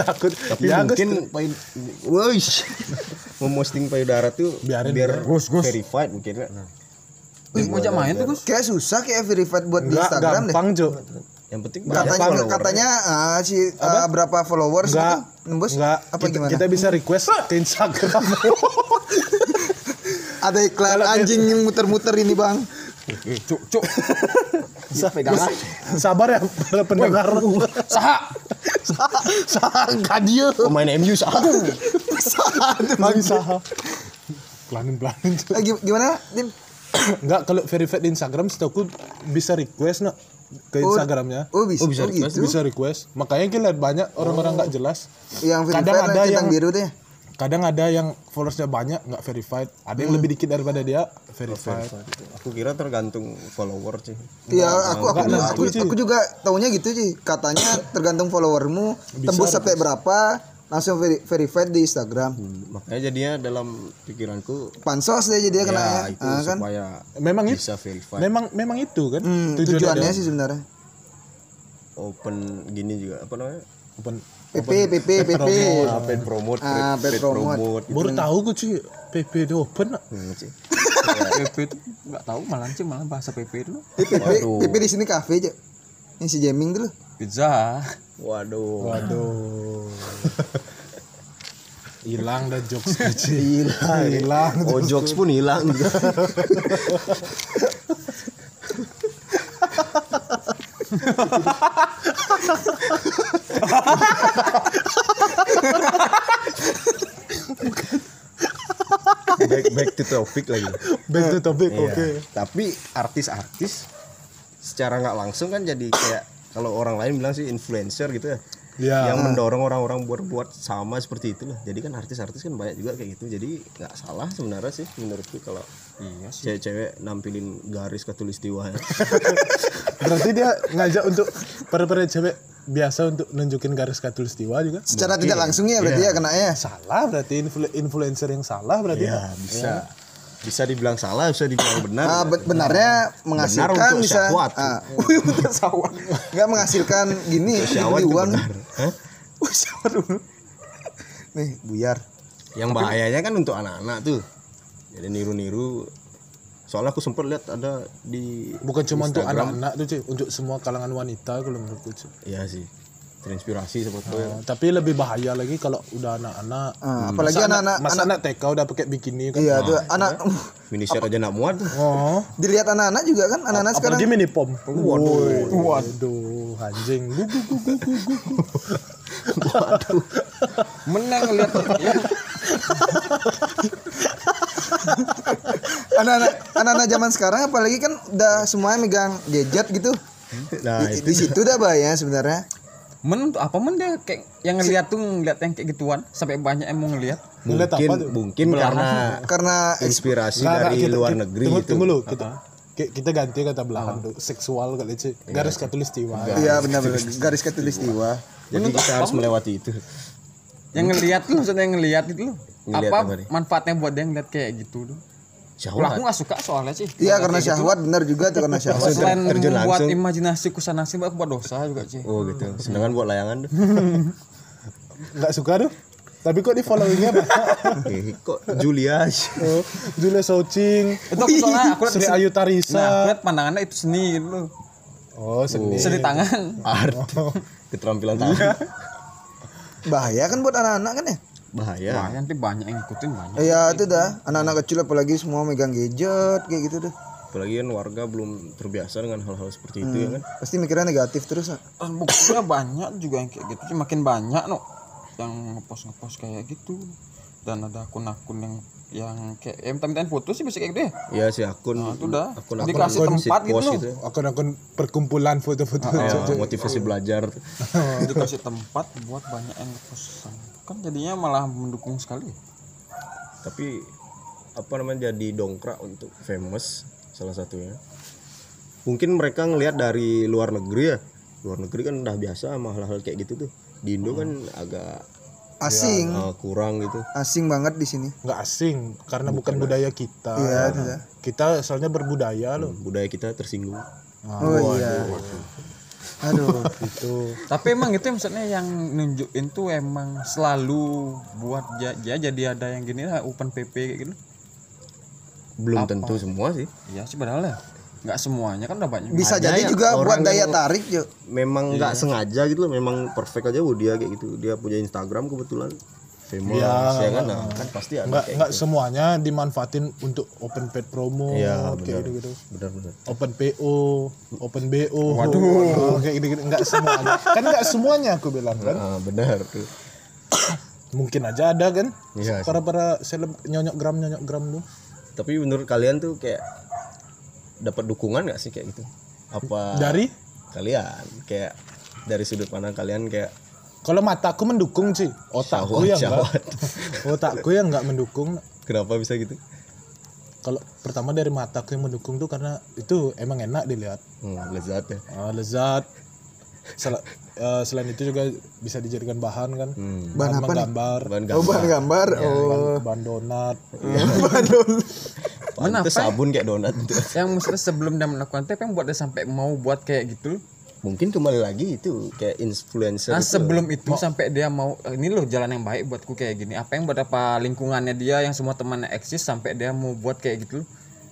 Speaker 1: Takut.
Speaker 5: Tapi
Speaker 1: Ya, Gus.
Speaker 5: mungkin payu, Woish. memposting payudara tuh
Speaker 1: Biarin,
Speaker 5: biar
Speaker 1: biar. Gus, Gus.
Speaker 5: verified mungkin ya.
Speaker 2: Mau jak main tuh Gus.
Speaker 4: Kayak susah kayak verified buat di
Speaker 1: Nggak,
Speaker 4: Instagram deh.
Speaker 1: gampang cuy.
Speaker 5: Yang penting
Speaker 4: Katanya
Speaker 5: follower.
Speaker 4: katanya ah, si ah, berapa followers
Speaker 1: Enggak.
Speaker 4: gitu nembus
Speaker 1: Enggak.
Speaker 4: apa
Speaker 1: kita,
Speaker 4: gimana?
Speaker 1: kita bisa request ke Instagram.
Speaker 4: Ada iklan anjing yang muter-muter ini, Bang.
Speaker 2: Cuk cuk.
Speaker 5: bisa pegang ah.
Speaker 1: Sabar ya para pendengar.
Speaker 2: Saha.
Speaker 1: uh, Saha dia.
Speaker 5: pemain MU satu.
Speaker 1: Mang saha. Pelanin pelanin cuy.
Speaker 4: Eh, gi- gimana, Dim?
Speaker 1: Enggak kalau verified di Instagram setahu bisa request nak ke
Speaker 4: Oh,
Speaker 1: Instagramnya.
Speaker 4: Oh, bisa,
Speaker 5: Oh, bisa
Speaker 4: oh, gitu. Oh.
Speaker 1: Bisa request. Makanya kita lihat banyak orang-orang nggak jelas.
Speaker 4: Yang verified
Speaker 1: Kadang ada
Speaker 4: yang centang
Speaker 1: yang-
Speaker 4: biru tuh ya.
Speaker 1: Kadang ada yang followersnya banyak nggak verified. Ada
Speaker 4: Hmm.
Speaker 1: yang lebih dikit daripada dia verified.
Speaker 5: Aku kira tergantung follower sih.
Speaker 4: Iya, aku aku
Speaker 1: enggak,
Speaker 4: aku,
Speaker 1: enggak, Ci.
Speaker 4: aku juga taunya gitu sih. Katanya tergantung followermu tembus sampai berapa langsung veri- verified di Instagram.
Speaker 1: Hmm.
Speaker 5: Makanya jadinya ya dalam pikiranku
Speaker 4: Pansos deh jadi dia kena ya.
Speaker 5: ya itu
Speaker 4: Ah, kan?
Speaker 5: supaya
Speaker 1: Memang itu.
Speaker 5: bisa verified.
Speaker 1: Memang memang itu kan
Speaker 4: Hmm, tujuannya sih sebenarnya.
Speaker 5: Open gini juga apa namanya?
Speaker 1: Open.
Speaker 4: PP PP PP.
Speaker 5: Ah, paid promote,
Speaker 4: Ah, paid
Speaker 5: paid- paid
Speaker 4: promote.
Speaker 1: Baru
Speaker 4: Hmm.
Speaker 1: tahu gue cuy PP itu open nak.
Speaker 5: Hmm, sih.
Speaker 2: PP itu enggak tahu malah cing malah bahasa PP itu.
Speaker 4: Eh, PP PP di sini kafe aja. Ini si Jaming dulu.
Speaker 2: Pizza.
Speaker 5: Waduh.
Speaker 1: Waduh. Hilang dah jokes kecil. Hilang. Hilang.
Speaker 5: Oh jokes pun hilang juga. back back to topic lagi.
Speaker 1: Back
Speaker 4: Hmm.
Speaker 1: to topic.
Speaker 5: Iya.
Speaker 1: Oke.
Speaker 5: Tapi artis-artis secara nggak langsung kan jadi kayak kalau orang lain bilang sih influencer gitu ya.
Speaker 4: Iya.
Speaker 1: Ya.
Speaker 5: Yang mendorong orang-orang buat buat sama seperti itu lah. Jadi kan artis-artis kan banyak juga kayak gitu. Jadi nggak salah sebenarnya sih menurutku kalau
Speaker 2: Iya sih.
Speaker 5: cewek-cewek nampilin garis katulistiwa ya.
Speaker 1: Berarti dia ngajak untuk para-para cewek biasa untuk nunjukin garis katulistiwa juga.
Speaker 4: Secara tidak langsung ya
Speaker 5: Iya.
Speaker 4: berarti ya kena ya.
Speaker 1: Salah berarti influ- influencer yang salah berarti.
Speaker 4: Iya,
Speaker 5: ya bisa. Bisa dibilang salah, bisa dibilang benar.
Speaker 4: Ah, be- benarnya
Speaker 5: Benar
Speaker 4: menghasilkan
Speaker 5: untuk
Speaker 4: bisa
Speaker 5: syahwat.
Speaker 4: ah, wih, untuk syahwat. nggak menghasilkan gini dibeli
Speaker 5: Syahwat itu
Speaker 4: uang
Speaker 5: benar. Hah?
Speaker 4: Wih, syahwat dulu. nih buyar
Speaker 5: Yang bahayanya kan untuk anak-anak tuh. Jadi niru-niru. Soalnya aku sempat lihat ada di
Speaker 1: Bukan cuma untuk
Speaker 5: Instagram.
Speaker 1: anak-anak tuh cuy, untuk semua kalangan wanita kalau menurutku cuy.
Speaker 5: Iya sih. Terinspirasi sebetulnya.
Speaker 1: Nah, tapi lebih bahaya lagi kalau udah anak-anak.
Speaker 4: Ah, apalagi
Speaker 1: Masa
Speaker 4: anak-anak-
Speaker 1: Masa anak TK udah pakai bikini kan.
Speaker 4: iya tuh anak
Speaker 5: Finisher aja nggak muat. tuh.
Speaker 1: Oh.
Speaker 4: dilihat anak-anak juga kan anak-anak sekarang
Speaker 1: Apalagi mini pom. Waduh. Waduh, anjing. Gu, gu, gu, gu, gu, gu.
Speaker 2: Menang lihat ya.
Speaker 4: anak-anak anak-anak zaman sekarang apalagi kan udah semuanya megang gadget gitu
Speaker 5: Nah,
Speaker 4: di, di situ dah bahaya sebenarnya
Speaker 2: Men untuk apa men dia kayak yang ngelihat tuh ngelihat yang kayak gituan sampai banyak yang mau ngelihat.
Speaker 1: Ngeliat apa
Speaker 5: mungkin
Speaker 1: tuh?
Speaker 5: mungkin karena
Speaker 4: karena
Speaker 5: inspirasi
Speaker 1: Nggak, nggak,
Speaker 5: dari
Speaker 1: kita-
Speaker 5: luar
Speaker 1: kita-
Speaker 5: negeri gitu.
Speaker 1: tunggu,
Speaker 5: itu.
Speaker 1: Tunggu lu, kita ki- kita ganti kata belahan tuh seksual kali cuy. Garis katulistiwa.
Speaker 4: iya benar-benar garis katulistiwa
Speaker 5: Jadi kita harus melewati itu.
Speaker 2: Yang ngelihat tuh maksudnya yang ngelihat itu loh.
Speaker 5: Ngelihat
Speaker 2: apa
Speaker 5: apa nih?
Speaker 2: manfaatnya buat dia ngelihat kayak gitu tuh. Lah aku
Speaker 5: Syahwat.
Speaker 2: nggak suka soalnya sih.
Speaker 5: Nah,
Speaker 4: iya karena
Speaker 5: gitu
Speaker 4: syahwat benar juga tuh karena syahwat
Speaker 2: gitu. Selain
Speaker 5: terjun
Speaker 2: membuat
Speaker 5: langsung.
Speaker 2: imajinasi kusana sih buat dosa juga sih.
Speaker 5: Oh gitu. Sedangkan buat layangan tuh.
Speaker 1: Enggak suka tuh. Tapi kok di followingnya banyak.
Speaker 5: Eh, Kok Julia?
Speaker 1: Oh, Julia Socing,
Speaker 2: Itu aku soalnya aku lihat
Speaker 1: Sri
Speaker 2: seni- Nah,
Speaker 1: Ayu
Speaker 2: aku
Speaker 1: Tarisa.
Speaker 2: lihat pandangannya itu seni gitu loh.
Speaker 1: Oh, seni.
Speaker 2: Seni
Speaker 5: Iya.
Speaker 2: tangan.
Speaker 5: Art. Keterampilan
Speaker 1: Iya.
Speaker 5: tangan.
Speaker 4: bahaya kan buat anak-anak kan ya
Speaker 5: Bahaya.
Speaker 2: Wah, nanti banyak yang ngikutin banyak.
Speaker 4: Iya itu dah anak-anak kecil apalagi semua megang gadget kayak gitu dah.
Speaker 5: apalagi kan warga belum terbiasa dengan hal-hal seperti itu
Speaker 1: Hmm.
Speaker 5: ya kan
Speaker 4: Pasti mikirnya negatif terus. Nak.
Speaker 6: Dan buktinya banyak juga yang kayak gitu sih makin banyak no yang ngepost ngepost kayak gitu dan ada akun-akun yang yang kayak ya, minta-mintain foto sih bisa kayak gitu ya
Speaker 5: ya si akun
Speaker 1: Ah.
Speaker 6: Nah, itu dah.
Speaker 5: akun
Speaker 6: Dikasih tempat gitu
Speaker 5: ya.
Speaker 6: loh.
Speaker 1: akun-akun perkumpulan foto-foto
Speaker 5: motivasi belajar
Speaker 6: dikasih Nah, tempat buat banyak yang ngepost kan jadinya malah mendukung sekali ya.
Speaker 5: tapi apa namanya jadi dongkrak untuk famous salah satunya mungkin mereka ngelihat dari luar negeri ya luar negeri kan udah biasa sama hal-hal kayak gitu tuh di
Speaker 1: Hmm.
Speaker 5: Indo kan agak
Speaker 4: Asing,
Speaker 5: eh, kurang gitu
Speaker 4: asing banget di sini.
Speaker 1: nggak asing karena bukan, budaya kita
Speaker 4: Iya, tidak.
Speaker 1: kita soalnya berbudaya loh
Speaker 5: budaya kita tersinggung
Speaker 4: Oh iya. Aduh.
Speaker 1: itu
Speaker 6: tapi emang itu yang maksudnya yang nunjukin tuh emang selalu buat ja- ya jadi ada yang gini lah open pp kayak gitu
Speaker 5: belum tentu semua sih
Speaker 6: ya sih padahal ya nggak semuanya kan udah banyak
Speaker 4: Bisa
Speaker 5: Ada
Speaker 4: jadi
Speaker 5: ya
Speaker 4: juga buat
Speaker 5: orang
Speaker 4: daya
Speaker 5: yang-
Speaker 4: tarik, Jo.
Speaker 5: memang nggak sengaja gitu loh memang perfect aja oh, dia kayak gitu dia punya Instagram kebetulan famous ya kan Nah, kan pasti ada
Speaker 1: nggak
Speaker 5: kayak
Speaker 1: nggak semuanya dimanfaatin untuk open paid promo
Speaker 5: Iya,
Speaker 1: kayak gitu gitu
Speaker 5: benar-benar
Speaker 1: open PO open BO waduh kayak gitu, -gitu. nggak semuanya kan nggak semuanya aku bilang kan
Speaker 5: ah, benar tuh
Speaker 1: mungkin aja ada kan
Speaker 5: Iya sih.
Speaker 1: para para seleb nyonyok gram nyonyok gram tuh
Speaker 5: tapi menurut kalian tuh kayak dapat dukungan nggak sih kayak gitu apa
Speaker 1: dari
Speaker 5: kalian kayak dari sudut pandang kalian kayak
Speaker 1: kalau mataku mendukung sih otakku
Speaker 5: Syahwat,
Speaker 1: yang enggak
Speaker 5: syahwat.
Speaker 1: otakku yang nggak mendukung
Speaker 5: kenapa bisa gitu
Speaker 1: kalau pertama dari mataku yang mendukung tuh karena itu emang enak dilihat
Speaker 5: hmm, lezat ya
Speaker 1: Ah, lezat Sel- eh, selain itu juga bisa dijadikan bahan kan
Speaker 5: Hmm.
Speaker 1: bahan, menggambar
Speaker 5: Bahan
Speaker 4: Oh,
Speaker 5: gambar
Speaker 4: bahan gambar.
Speaker 1: bahan,
Speaker 4: Oh.
Speaker 1: bahan donat
Speaker 5: Apaan tuh sabun kayak donat tuh.
Speaker 6: yang maksudnya sebelum dia melakukan itu apa yang buat dia sampai mau buat kayak gitu
Speaker 5: mungkin kembali lagi itu kayak influencer
Speaker 6: Nah
Speaker 5: gitu.
Speaker 6: sebelum itu sampai dia mau ini loh jalan yang baik buatku kayak gini. Apa yang buat apa lingkungannya dia yang semua temannya eksis sampai dia mau buat kayak gitu.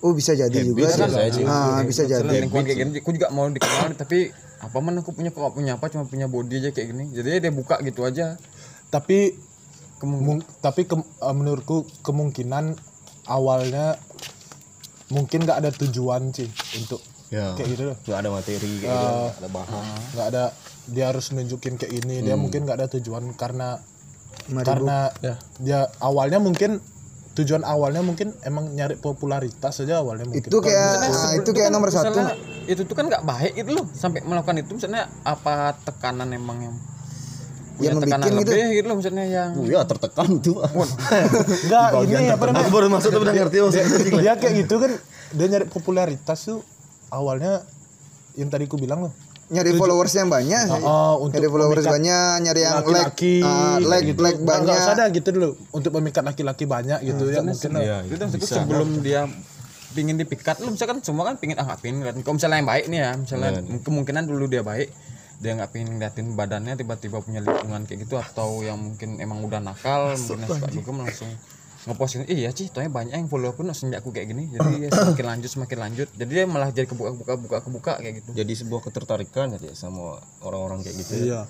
Speaker 4: Oh, bisa jadi juga.
Speaker 5: sih,
Speaker 4: Jo.
Speaker 5: saya juga.
Speaker 4: Ah, bisa jadi.
Speaker 6: Jalan lingkungan kayak gini. Aku juga mau dikenal tapi apa man aku punya kok punya apa cuma punya body aja kayak gini. Jadi dia buka gitu aja.
Speaker 1: tapi mung- tapi ke- eh, menurutku kemungkinan awalnya mungkin nggak ada tujuan sih untuk
Speaker 5: ya
Speaker 1: kayak gitu loh
Speaker 5: nggak ada materi kayak gitu nggak ada
Speaker 1: Ah.
Speaker 5: bahan
Speaker 1: nggak ada dia harus nunjukin kayak ini dia
Speaker 5: Hmm.
Speaker 1: mungkin nggak ada tujuan karena karena
Speaker 5: Ya.
Speaker 1: dia awalnya mungkin tujuan awalnya mungkin emang nyari popularitas aja awalnya mungkin
Speaker 4: Itu kayak ah, itu kayak nomor satu.
Speaker 6: Misalnya, itu tuh kan nggak baik itu loh sampai melakukan itu misalnya apa tekanan emang yang punya
Speaker 4: Yang
Speaker 6: tekanan
Speaker 4: membikin gitu.
Speaker 6: lebih gitu. loh misalnya yang
Speaker 5: Oh ya tertekan tuh
Speaker 1: nggak ini apa namanya
Speaker 3: Aku baru masuk tapi udah ngerti maksudnya.
Speaker 1: dia kayak gitu kan dia nyari popularitas tuh awalnya yang tadi ku bilang loh
Speaker 4: Nyari followers yang banyak.
Speaker 1: Ah,
Speaker 4: sih.
Speaker 1: ah, untuk
Speaker 4: Nyari followers
Speaker 1: memikat
Speaker 4: banyak, nyari yang like,
Speaker 1: laki-laki
Speaker 4: ah,
Speaker 1: kayak
Speaker 4: like,
Speaker 1: gitu.
Speaker 4: like
Speaker 1: Nggak- nggak usah
Speaker 4: banyak.
Speaker 1: dah gitu dulu untuk memikat laki-laki banyak gitu ya mungkin lah.
Speaker 5: ya
Speaker 6: itu maksudku sebelum dia pingin dipikat lu misalkan semua kan pingin ah nggak pingin ngeliatin kalau misalnya yang baik nih ya misalnya kemungkinan dulu dia baik dia nggak pingin ngeliatin badannya tiba-tiba punya lingkungan kayak gitu atau yang mungkin emang udah nakal mungkin yang suka dugem langsung ngepost ini iya sih tonya banyak yang follow aku nah, semenjak aku kayak gini jadi ya, semakin lanjut semakin lanjut jadi dia malah jadi kebuka kebuka buka kebuka kayak gitu
Speaker 5: jadi sebuah ketertarikan ya sama orang-orang kayak gitu
Speaker 1: iya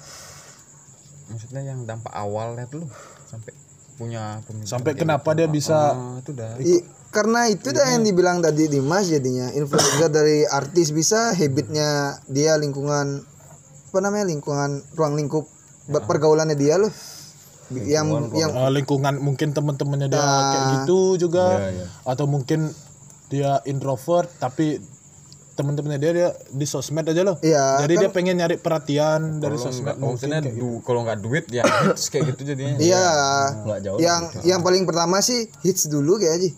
Speaker 6: maksudnya yang dampak awalnya tuh loh, sampai punya pemikiran
Speaker 1: sampai
Speaker 6: kayak
Speaker 1: kenapa dia bisa
Speaker 6: gitu. itu dah
Speaker 4: I- karena itu dah yang dibilang tadi Dimas jadinya influencer dari artis bisa habitnya dia lingkungan apa namanya lingkungan ruang lingkup ber- pergaulannya dia loh Bi- yang yang
Speaker 1: eh, lingkungan mungkin temen-temennya dia kayak gitu juga atau mungkin dia introvert tapi temen-temennya dia dia di sosmed aja loh
Speaker 4: Iya,
Speaker 1: jadi dia pengen nyari perhatian dari sosmed gitu.
Speaker 6: Oh, maksudnya du- kalau nggak duit ya hits kayak gitu jadinya
Speaker 4: iya
Speaker 5: nggak jauh
Speaker 4: yang yang paling pertama sih hits dulu kayak aja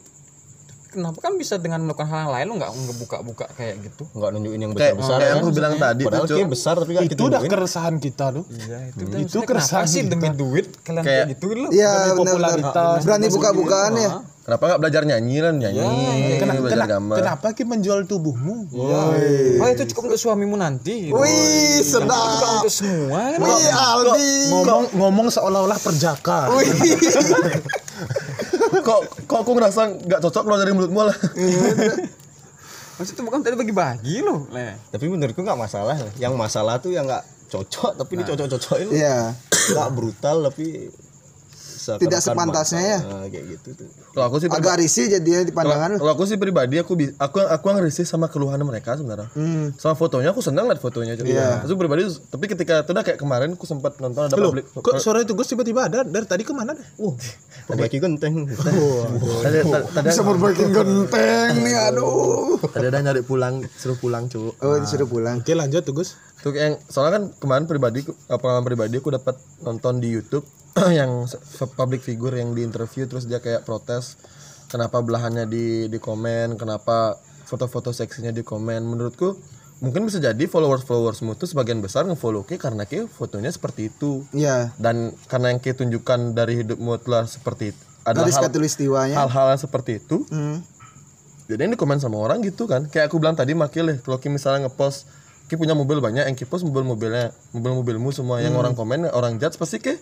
Speaker 6: kenapa kan bisa dengan melakukan hal yang lain lo nggak ngebuka-buka kayak gitu
Speaker 5: nggak nunjukin yang
Speaker 3: Kayak
Speaker 5: besar-besar
Speaker 3: kayak
Speaker 5: kan.
Speaker 3: aku bilang tadi tuh,
Speaker 5: padahal
Speaker 3: Cuk.
Speaker 5: kayak besar tapi nggak
Speaker 1: itu udah keresahan kita loh
Speaker 6: iya itu
Speaker 1: Itu
Speaker 6: kenapa
Speaker 1: keresahan
Speaker 6: sih demi duit kalian kayak, gitu lo
Speaker 4: iya benar
Speaker 1: popularitas.
Speaker 4: berani buka-bukaan ya
Speaker 3: Kenapa nggak belajar nyanyi kan nyanyi,
Speaker 1: Kena-
Speaker 3: belajar
Speaker 1: kena-
Speaker 3: gambar.
Speaker 1: kenapa kita menjual tubuhmu
Speaker 6: oh itu cukup untuk suamimu
Speaker 4: Iya.
Speaker 6: nanti gitu.
Speaker 4: wih
Speaker 6: Bukan
Speaker 4: sedap
Speaker 6: untuk semua kan?
Speaker 4: wih Aldi
Speaker 1: ngomong ngomong seolah-olah perjaka
Speaker 3: Kok kok aku ngerasa nggak cocok keluar dari mulutmu lah.
Speaker 6: maksud itu bukan tadi bagi-bagi lo leh
Speaker 5: tapi menurutku nggak masalah yang masalah tuh yang nggak cocok tapi dicocok-cocokin
Speaker 4: iya
Speaker 5: nggak brutal tapi
Speaker 4: tidak sepantasnya ya
Speaker 5: Nah, kayak gitu tuh.
Speaker 3: Kalau aku sih
Speaker 4: agak risih jadinya di
Speaker 3: kalau,
Speaker 4: pandangan lu
Speaker 3: kalau aku sih pribadi aku bi- aku aku yang risih sama keluhan mereka sebenarnya. Sama fotonya aku senang lihat fotonya. Iya. Aku pribadi tapi ketika itu udah kayak kemarin aku sempat nonton ada
Speaker 1: Loh,
Speaker 3: publik
Speaker 1: kok suara itu gue tiba-tiba ada dari tadi kemana deh? Wah,
Speaker 5: Perbaiki genteng.
Speaker 3: Tadi, tadi- tadi-
Speaker 4: bisa memperbaiki genteng nih aduh
Speaker 3: tadi ada nyari pulang suruh pulang cowok.
Speaker 4: oh disuruh pulang
Speaker 1: oke lanjut tuh Gus.
Speaker 3: Tuh yang soalnya kan kemarin pribadi ku- eh, pengalaman pribadi aku dapat nonton di YouTube yang se- public figure yang diinterview terus dia kayak protes kenapa belahannya di di komen, kenapa foto-foto seksinya di komen. Menurutku mungkin bisa jadi followers-followersmu tuh sebagian besar ngefollow ke karena ke fotonya seperti itu
Speaker 4: ya
Speaker 3: dan karena yang ke tunjukkan dari hidupmu telah seperti itu
Speaker 4: dari
Speaker 3: adalah hal-
Speaker 4: skatulistiwanya
Speaker 3: hal-hal yang seperti itu
Speaker 4: hmm.
Speaker 3: jadi ini komen sama orang gitu kan kayak aku bilang tadi makil deh kalau Ki misalnya ngepost Ki punya mobil banyak yang Ki post mobil-mobilnya mobil-mobilmu semua
Speaker 4: Hmm.
Speaker 3: yang orang komen orang judge pasti Ki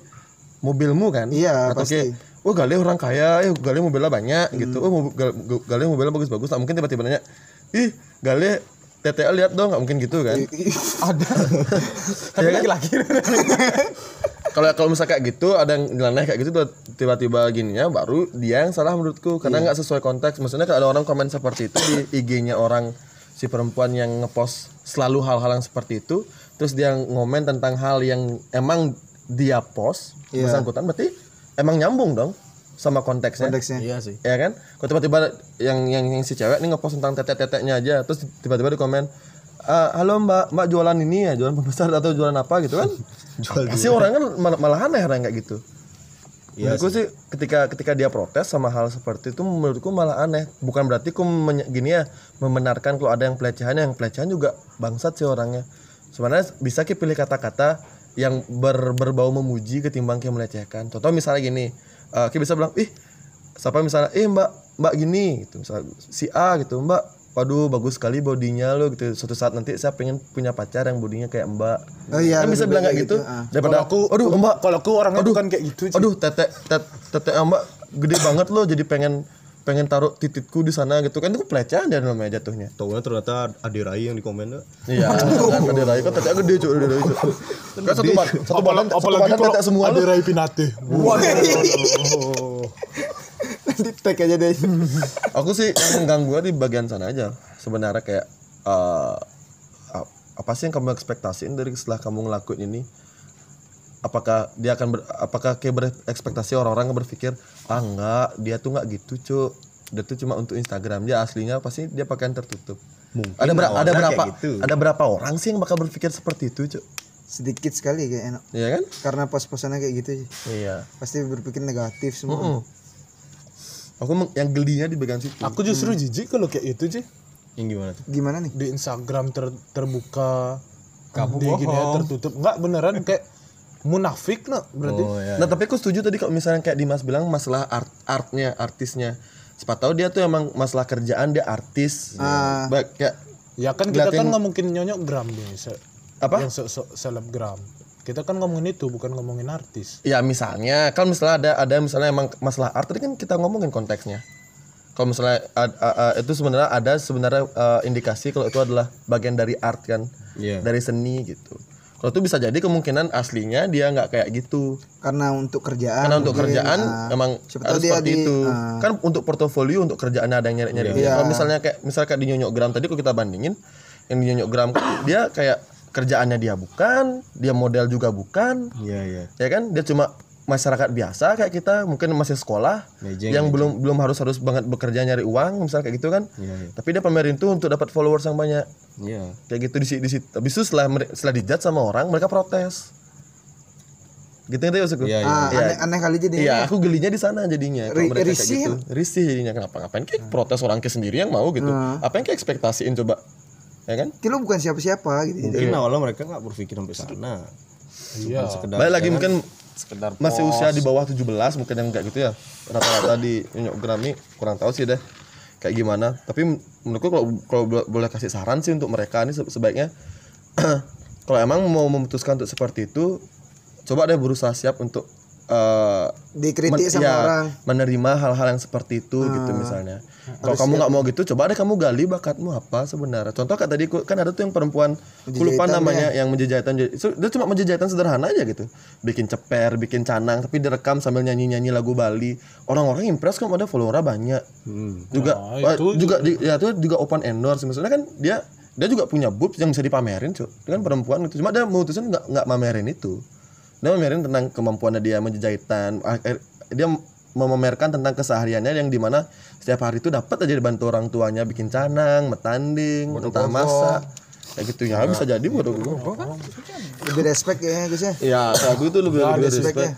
Speaker 3: mobilmu kan
Speaker 4: Iya,
Speaker 3: atau
Speaker 4: pasti. Hmm.
Speaker 3: Ki oh gali orang kaya eh gali mobilnya banyak gitu oh mobil- Gal- gali mobilnya bagus-bagus tak mungkin tiba-tiba nanya ih gali TTL lihat dong nggak mungkin gitu kan
Speaker 6: ada tapi laki-laki
Speaker 3: kalau kalau misalnya kayak gitu ada yang nyeleneh kayak gitu tiba-tiba gininya baru dia yang salah menurutku karena nggak sesuai konteks maksudnya kalau ada orang komen seperti itu di IG-nya orang si perempuan yang ngepost selalu hal-hal yang seperti itu terus dia ngomen tentang hal yang emang dia post
Speaker 4: Iya.
Speaker 3: bersangkutan berarti emang nyambung dong sama konteksnya
Speaker 4: konteksnya
Speaker 2: Iya sih.
Speaker 3: ya kan kalau tiba-tiba yang, yang yang si cewek nih ngepost tentang tetek-teteknya aja terus tiba-tiba di komen "Eh, halo mbak mbak jualan ini ya jualan pembesar atau jualan apa gitu kan kasih orang kan mal- malah aneh orang kayak gitu
Speaker 4: Iya
Speaker 3: menurutku sih. ketika ketika dia protes sama hal seperti itu menurutku malah aneh bukan berarti aku menye- gini ya membenarkan kalau ada yang pelecehan yang pelecehan juga bangsat sih orangnya sebenarnya bisa kita pilih kata-kata yang ber- berbau memuji ketimbang kita melecehkan contoh misalnya gini eh kita bisa bilang ih siapa misalnya eh mbak mbak gini gitu misalnya si A gitu mbak waduh bagus sekali bodinya lo gitu suatu saat nanti saya pengen punya pacar yang bodinya kayak mbak
Speaker 4: Oh iya,
Speaker 3: kan bisa
Speaker 4: lebih
Speaker 3: bilang
Speaker 4: baik
Speaker 3: kayak gitu,
Speaker 4: gitu, ah.
Speaker 3: daripada aku aduh mbak
Speaker 1: Kalau aku orangnya
Speaker 3: Aduh.
Speaker 1: bukan kayak gitu. Ci.
Speaker 3: Aduh, tete tete, tete mbak gede banget loh jadi pengen pengen taruh tititku di sana gitu kan itu pelecehan dan namanya jatuhnya.
Speaker 5: Taunya ternyata ada Rai yang di komen tuh.
Speaker 3: Iya, kan tete lagi kan tete gede cuy, gede cuy. Kan satu ban, satu badan,
Speaker 1: Apalagi,
Speaker 3: satu
Speaker 1: apalagi
Speaker 3: badan
Speaker 1: kalau
Speaker 3: tete semua
Speaker 1: ada
Speaker 3: lu.
Speaker 1: Rai Pinate.
Speaker 4: nanti tag aja deh
Speaker 3: Aku sih yang mengganggu di bagian sana aja. Sebenarnya kayak eh, ap- apa sih yang kamu ekspektasiin dari setelah kamu ngelakuin ini? Apakah dia akan ber- apakah kayak berekspektasi orang-orang yang berpikir ah enggak dia tuh nggak gitu cuy dia tuh cuma untuk Instagram dia aslinya pasti dia pakaian tertutup. ada ber- ada
Speaker 5: awalnya
Speaker 3: berapa
Speaker 5: kayak gitu.
Speaker 3: ada berapa orang sih yang bakal berpikir seperti itu cuy?
Speaker 4: sedikit sekali kayak enak
Speaker 3: Iya kan?
Speaker 4: karena pos-posannya kayak gitu sih.
Speaker 3: Iya.
Speaker 4: pasti berpikir negatif semua
Speaker 3: Aku meng- yang gelinya di bagian situ.
Speaker 1: Aku justru jijik kalau kayak itu sih
Speaker 5: Yang gimana tuh?
Speaker 4: gimana nih
Speaker 1: di Instagram ter- terbuka kamu di gini ya, tertutup nggak beneran kayak munafik no berarti
Speaker 5: Oh, Ya. iya.
Speaker 3: Nah tapi aku setuju tadi kalau misalnya kayak Dimas bilang masalah art artnya artisnya. Siapa tahu dia tuh emang masalah kerjaan dia artis.
Speaker 4: Ah.
Speaker 3: Baik kayak
Speaker 1: ya kan kita kan
Speaker 3: Ngeliatin-
Speaker 1: nggak mungkin nyonyok gram nih se-
Speaker 3: Apa?
Speaker 1: yang se- se- selebgram kita kan ngomongin itu bukan ngomongin artis
Speaker 3: ya misalnya kan misalnya ada ada misalnya emang masalah art tadi kan kita ngomongin konteksnya. Kalau misalnya ad- a- a- itu sebenarnya ada sebenarnya eh, indikasi kalau itu adalah bagian dari art kan,
Speaker 5: Iya.
Speaker 3: dari seni gitu. Kalau itu bisa jadi kemungkinan aslinya dia nggak kayak gitu.
Speaker 4: karena untuk kerjaan
Speaker 3: Karena untuk
Speaker 4: mungkin,
Speaker 3: kerjaan
Speaker 4: ah.
Speaker 3: emang
Speaker 4: siapa tahu
Speaker 3: harus
Speaker 4: dia
Speaker 3: seperti
Speaker 4: di-
Speaker 3: itu.
Speaker 4: ah.
Speaker 3: Kan untuk portofolio untuk kerjaannya ada yang nyari-nyari.
Speaker 4: Iya.
Speaker 3: Kalau misalnya kayak misalnya kayak di Nyonyok Gram tadi kalau kita bandingin yang di Nyonyok Gram kan dia kayak kerjaannya dia bukan, dia model juga bukan,
Speaker 5: Iya, iya.
Speaker 3: ya kan? Dia cuma masyarakat biasa kayak kita mungkin masih sekolah
Speaker 5: Mejeng,
Speaker 3: yang belum belum harus harus banget bekerja nyari uang misalnya kayak gitu kan
Speaker 5: Iya, iya.
Speaker 3: tapi dia pamerin tuh untuk dapat followers yang banyak
Speaker 5: Iya.
Speaker 3: kayak gitu di situ di situ habis itu setelah mere- setelah dijat sama orang mereka protes gitu ngerti maksudku
Speaker 5: Iya,
Speaker 4: Ah,
Speaker 3: Iya.
Speaker 4: aneh, aneh kali jadi
Speaker 3: Iya, aku gelinya di sana jadinya. kalau
Speaker 4: Ri-
Speaker 3: mereka kayak
Speaker 4: risih ya? Hmm.
Speaker 3: gitu. Risih jadinya kenapa? Ngapain kayak protes orang ke sendiri yang mau gitu. Apa yang kayak ekspektasiin coba? Ya kan?
Speaker 4: Ki, lu bukan
Speaker 3: Mm.
Speaker 4: siapa-siapa gitu
Speaker 5: Mungkin awalnya mereka nggak berpikir sampai sana.
Speaker 1: iya
Speaker 5: Sekedar
Speaker 3: Baik lagi
Speaker 5: ya kan?
Speaker 3: mungkin masih usia di bawah 17 mungkin yang kayak gitu ya. Rata-rata di Nyok Grammy kurang tahu sih deh kayak gimana. Tapi men- menurutku kalau kalau bo- boleh kasih saran sih untuk mereka ini se- sebaiknya kalau emang mau memutuskan untuk seperti itu coba deh berusaha siap untuk eh,
Speaker 4: dikritik sama
Speaker 3: ya,
Speaker 4: orang Ah.
Speaker 3: menerima hal-hal yang seperti itu gitu misalnya kalau kamu nggak mau gitu coba deh kamu gali bakatmu apa sebenarnya contoh kayak tadi ku- kan ada tuh yang perempuan aku lupa namanya
Speaker 4: ya.
Speaker 3: yang menjejahitan menje- itu dia cuma menjejahitan sederhana aja gitu bikin ceper bikin canang tapi direkam sambil nyanyi nyanyi lagu Bali orang-orang impress kok ada followernya banyak juga eh, juga di- ya tuh juga open endorse maksudnya kan dia dia juga punya boobs yang bisa dipamerin cuy dia kan perempuan gitu cuma dia memutuskan nggak nggak mamerin itu dia memamerin tentang kemampuannya dia menjejahitan Akhir- dia memamerkan tentang kesehariannya yang dimana setiap hari itu dapat aja dibantu orang tuanya bikin canang metanding entah masak kayak gitu ya bisa jadi buat aku
Speaker 4: lebih respect ya Gus ya
Speaker 3: ya kalau aku itu lebih lebih
Speaker 4: respect ya.
Speaker 3: respect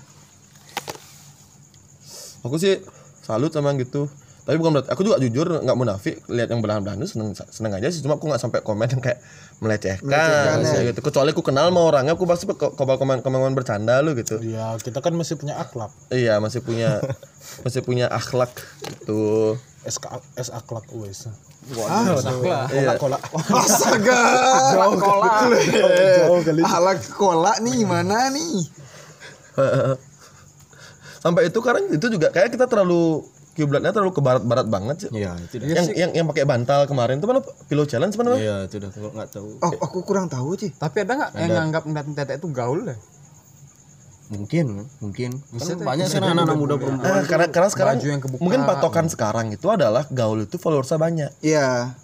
Speaker 3: aku sih salut sama yang gitu tapi bukan berarti aku juga jujur nggak munafik lihat yang belahan belahan seneng seneng aja sih cuma aku nggak sampai komen yang kayak melecehkan, kayak gitu kecuali aku kenal sama orangnya aku pasti kok komen komen bercanda lu gitu
Speaker 1: Ya, kita kan masih punya akhlak.
Speaker 3: Iya masih punya masih punya akhlak gitu.
Speaker 1: SK S akhlak wes. Oh,
Speaker 3: Iya.
Speaker 4: Astaga. Kolak. Alak kolak nih gimana nih?
Speaker 3: Sampai itu sekarang itu juga kayak kita terlalu kiblatnya terlalu ke barat-barat banget sih.
Speaker 5: Iya, itu dah.
Speaker 3: Yang yang yang pakai bantal kemarin itu mana Pillow challenge apa namanya?
Speaker 5: Iya, itu dah kalau nggak tahu.
Speaker 4: Oh, aku kurang tahu sih.
Speaker 6: Tapi ada nggak yang nganggap ngeliatin tete itu gaul deh?
Speaker 5: Mungkin, mungkin. Kan banyak sekarang anak-anak muda perempuan.
Speaker 3: Ah, karena karena sekarang
Speaker 6: baju yang kebuka. gitu.
Speaker 3: mungkin patokan sekarang itu adalah gaul itu followersnya banyak.
Speaker 4: Iya.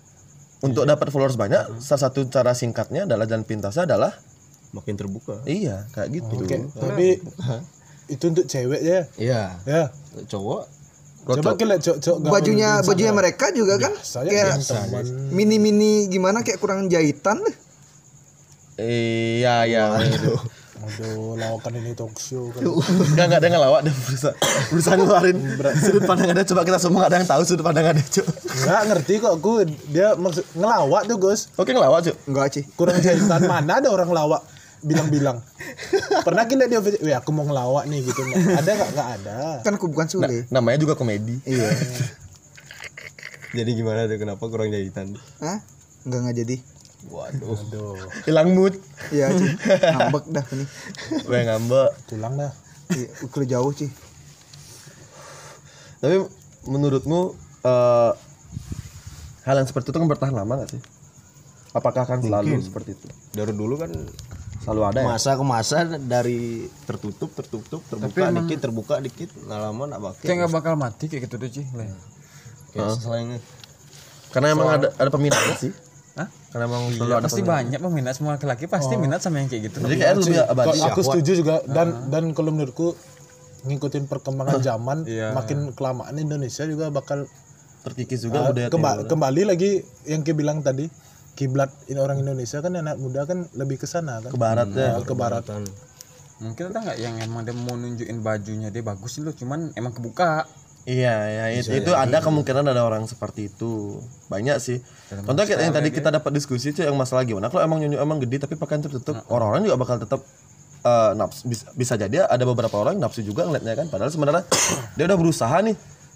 Speaker 3: Untuk
Speaker 6: Iya.
Speaker 3: dapat followers banyak, salah satu cara singkatnya adalah jalan pintasnya adalah
Speaker 5: Makin terbuka.
Speaker 3: iya kayak gitu.
Speaker 1: Tapi itu untuk cewek ya.
Speaker 5: Iya,
Speaker 1: Ya.
Speaker 5: cowok
Speaker 1: Coba kita lihat cowok-cowok gaul
Speaker 4: Bajunya
Speaker 1: di sana.
Speaker 3: ya.
Speaker 4: bajunya mereka juga kan
Speaker 1: Saya
Speaker 4: kayak
Speaker 1: teman.
Speaker 4: mini-mini gimana kayak kurang jahitan deh.
Speaker 3: Iya iya.
Speaker 1: Aduh, lawakan ini talk show kan.
Speaker 3: Enggak enggak ada yang ngelawak dan berusaha berusaha ngeluarin sudut pandang ada coba kita semua nggak ada yang tahu sudut pandang ada cuy.
Speaker 1: Enggak ngerti kok aku dia maksud ngelawak tuh, Gus.
Speaker 3: Oke ngelawak cuy.
Speaker 4: Enggak, sih.
Speaker 1: kurang jahitan mana ada orang lawak bilang-bilang pernah kita dia weh aku mau ngelawak nih gitu ada nggak nggak ada
Speaker 4: Kan aku bukan Sule.
Speaker 3: namanya juga komedi
Speaker 4: Iya.
Speaker 5: jadi gimana tuh kenapa kurang jahitan?
Speaker 4: Hah? Enggak enggak jadi.
Speaker 5: Waduh.
Speaker 3: hilang mood
Speaker 4: Iya, Ci. Ngambek dah ini.
Speaker 3: gue ngambek
Speaker 1: tulang dah
Speaker 4: Iya, ukur jauh, Ci.
Speaker 3: tapi menurutmu eh, hal yang seperti itu kan bertahan lama gak sih apakah akan selalu seperti itu
Speaker 5: Dari dulu kan
Speaker 3: selalu ada ya
Speaker 5: masa ke masa dari tertutup tertutup terbuka dikit terbuka dikit nggak lama nggak pakai
Speaker 6: Kayak nggak bakal mati kayak gitu tuh Ci. Le.
Speaker 5: kayak selain
Speaker 3: karena emang ada ada peminatnya sih
Speaker 6: Hah?
Speaker 3: karena emang selalu ada
Speaker 6: Pasti banyak peminat semua laki-laki pasti minat sama yang kayak gitu.
Speaker 3: jadi kayak lebih abadi
Speaker 1: Kalau aku setuju juga dan dan kalau menurutku ngikutin perkembangan zaman makin kelamaan Indonesia juga bakal
Speaker 3: terkikis juga
Speaker 1: uh,
Speaker 3: budaya
Speaker 1: kemba- kembali lagi yang Ki bilang tadi kiblat in- orang Indonesia kan anak muda kan lebih ke sana kan
Speaker 3: ke barat ya
Speaker 1: Nah, ke barat
Speaker 5: Kan.
Speaker 6: Mungkin ada nggak yang emang dia mau nunjukin bajunya dia bagus loh, cuman emang kebuka.
Speaker 3: Iya, ya itu, itu ada kemungkinan ada orang seperti itu. Banyak sih. Contoh kayak yang tadi kita dapat diskusi itu yang masalah gimana kalau emang nyonya emang gede tapi pakaian tertutup, orang-orang juga bakal tetap eh, nafsu bisa, bisa jadi ada beberapa orang nafsu juga ngeliatnya kan padahal sebenarnya dia udah berusaha nih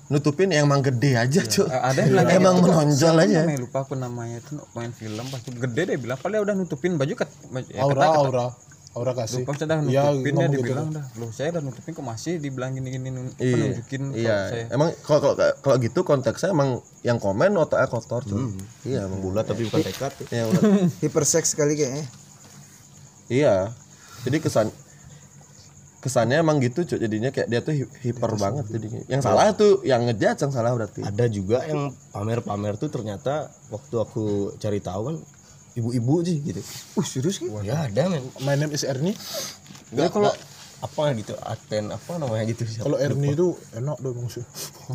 Speaker 3: nutupin yang emang gede aja, cuy.
Speaker 6: Eh, Ada yang bilang kayak
Speaker 3: Iya. Emang
Speaker 6: gitu,
Speaker 3: menonjol
Speaker 6: siapa
Speaker 3: aja.
Speaker 6: namanya? lupa aku namanya itu main film pas itu gede deh bilang padahal udah nutupin baju ket baju- ya,
Speaker 1: aura
Speaker 6: ketat- ketat.
Speaker 1: aura aura kasih
Speaker 6: Pas
Speaker 3: Iya,
Speaker 1: ya
Speaker 6: udah nutupin dia
Speaker 1: ngomong gitu
Speaker 6: dibilang dah, loh saya udah nutupin kok masih dibilang gini-gini nun- menunjukin kalau saya.
Speaker 3: Iya, emang kalau kalau kalau gitu konteksnya emang yang komen otaknya kotor, cuy. Iya, emang bulat tapi bukan tekad. Iya, bulat.
Speaker 4: Hipersex sekali kayaknya.
Speaker 3: Iya. Jadi kesan kesannya emang gitu cuy jadinya kayak dia tuh hi- hiper banget jadinya. Yang salah tuh yang ngejat yang salah berarti.
Speaker 5: ada juga yang pamer-pamer tuh ternyata waktu aku cari tahu kan ibu-ibu aja gitu uh serius gitu ya ada men
Speaker 1: my name is Ernie
Speaker 5: nggak kalau apa gitu aten apa namanya gitu siapa?
Speaker 1: kalau Ernie itu enak dong maksud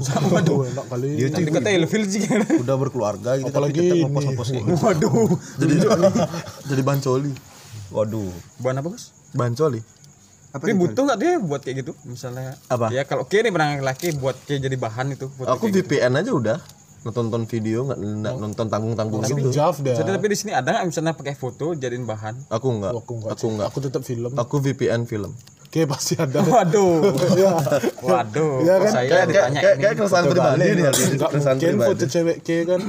Speaker 1: sama dong enak kali
Speaker 3: Iya,
Speaker 6: Tadi kata ilfil sih kan.
Speaker 5: udah berkeluarga
Speaker 3: kan.
Speaker 5: gitu
Speaker 1: Apalagi
Speaker 5: tapi tetap
Speaker 1: ini.
Speaker 5: ngopos-ngopos kayak gitu.
Speaker 6: Waduh.
Speaker 3: Jadi jadi bancoli.
Speaker 5: waduh
Speaker 6: Bukan apa Gus?
Speaker 3: Bancoli.
Speaker 4: Apa gitu?
Speaker 6: Tapi
Speaker 4: nih?
Speaker 6: butuh nggak dia buat kayak gitu? Misalnya
Speaker 3: Apa?
Speaker 6: Ya kalau kini pernah laki buat kayak jadi bahan itu. Buat
Speaker 3: Aku
Speaker 6: kayak gitu.
Speaker 3: VPN aja udah nonton video nggak nggak nonton tanggung-tanggung
Speaker 1: tapi
Speaker 3: gitu.
Speaker 1: Jav dah
Speaker 6: Jadi tapi di sini ada nggak misalnya pakai foto jadiin bahan?
Speaker 3: Aku nggak.
Speaker 1: aku enggak
Speaker 3: Aku nggak.
Speaker 1: aku tetap film
Speaker 3: Aku VPN film.
Speaker 1: oke pasti ada Ya.
Speaker 6: Waduh. Waduh.
Speaker 1: Iya
Speaker 6: Kok
Speaker 1: kan?
Speaker 6: Saya
Speaker 3: Kayak kayak
Speaker 6: ditanya
Speaker 3: kayak-
Speaker 6: ini.
Speaker 3: kayak keresahan pribadi nih.
Speaker 1: enggak
Speaker 3: Keresahan
Speaker 1: mungkin
Speaker 3: pribadi.
Speaker 1: foto cewek ke kan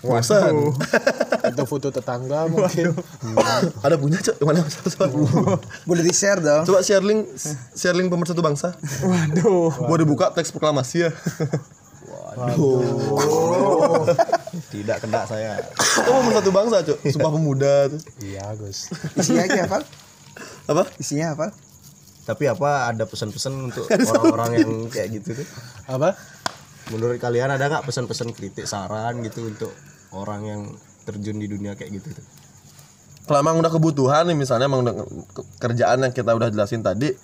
Speaker 3: Bosan.
Speaker 1: atau foto tetangga mungkin
Speaker 3: Ada punya cok? Yang Mana satu satu?
Speaker 4: Boleh di share dong.
Speaker 3: Coba share link, share link pemersatu bangsa. Waduh. Gua dibuka teks proklamasi ya.
Speaker 5: Tidak kena saya.
Speaker 3: Oh pemersatu bangsa cok. Sumpah pemuda tuh.
Speaker 1: iya Gus
Speaker 4: Isinya aja apa?
Speaker 3: Apa?
Speaker 4: Isinya apa?
Speaker 5: Tapi apa ada pesan-pesan untuk orang-orang yang kayak gitu tuh?
Speaker 1: apa
Speaker 5: Menurut kalian ada nggak pesan-pesan kritik saran gitu untuk orang yang terjun di dunia kayak gitu tuh?
Speaker 3: Kalau emang udah kebutuhan nih misalnya emang udah ke- kerjaan yang kita udah jelasin tadi,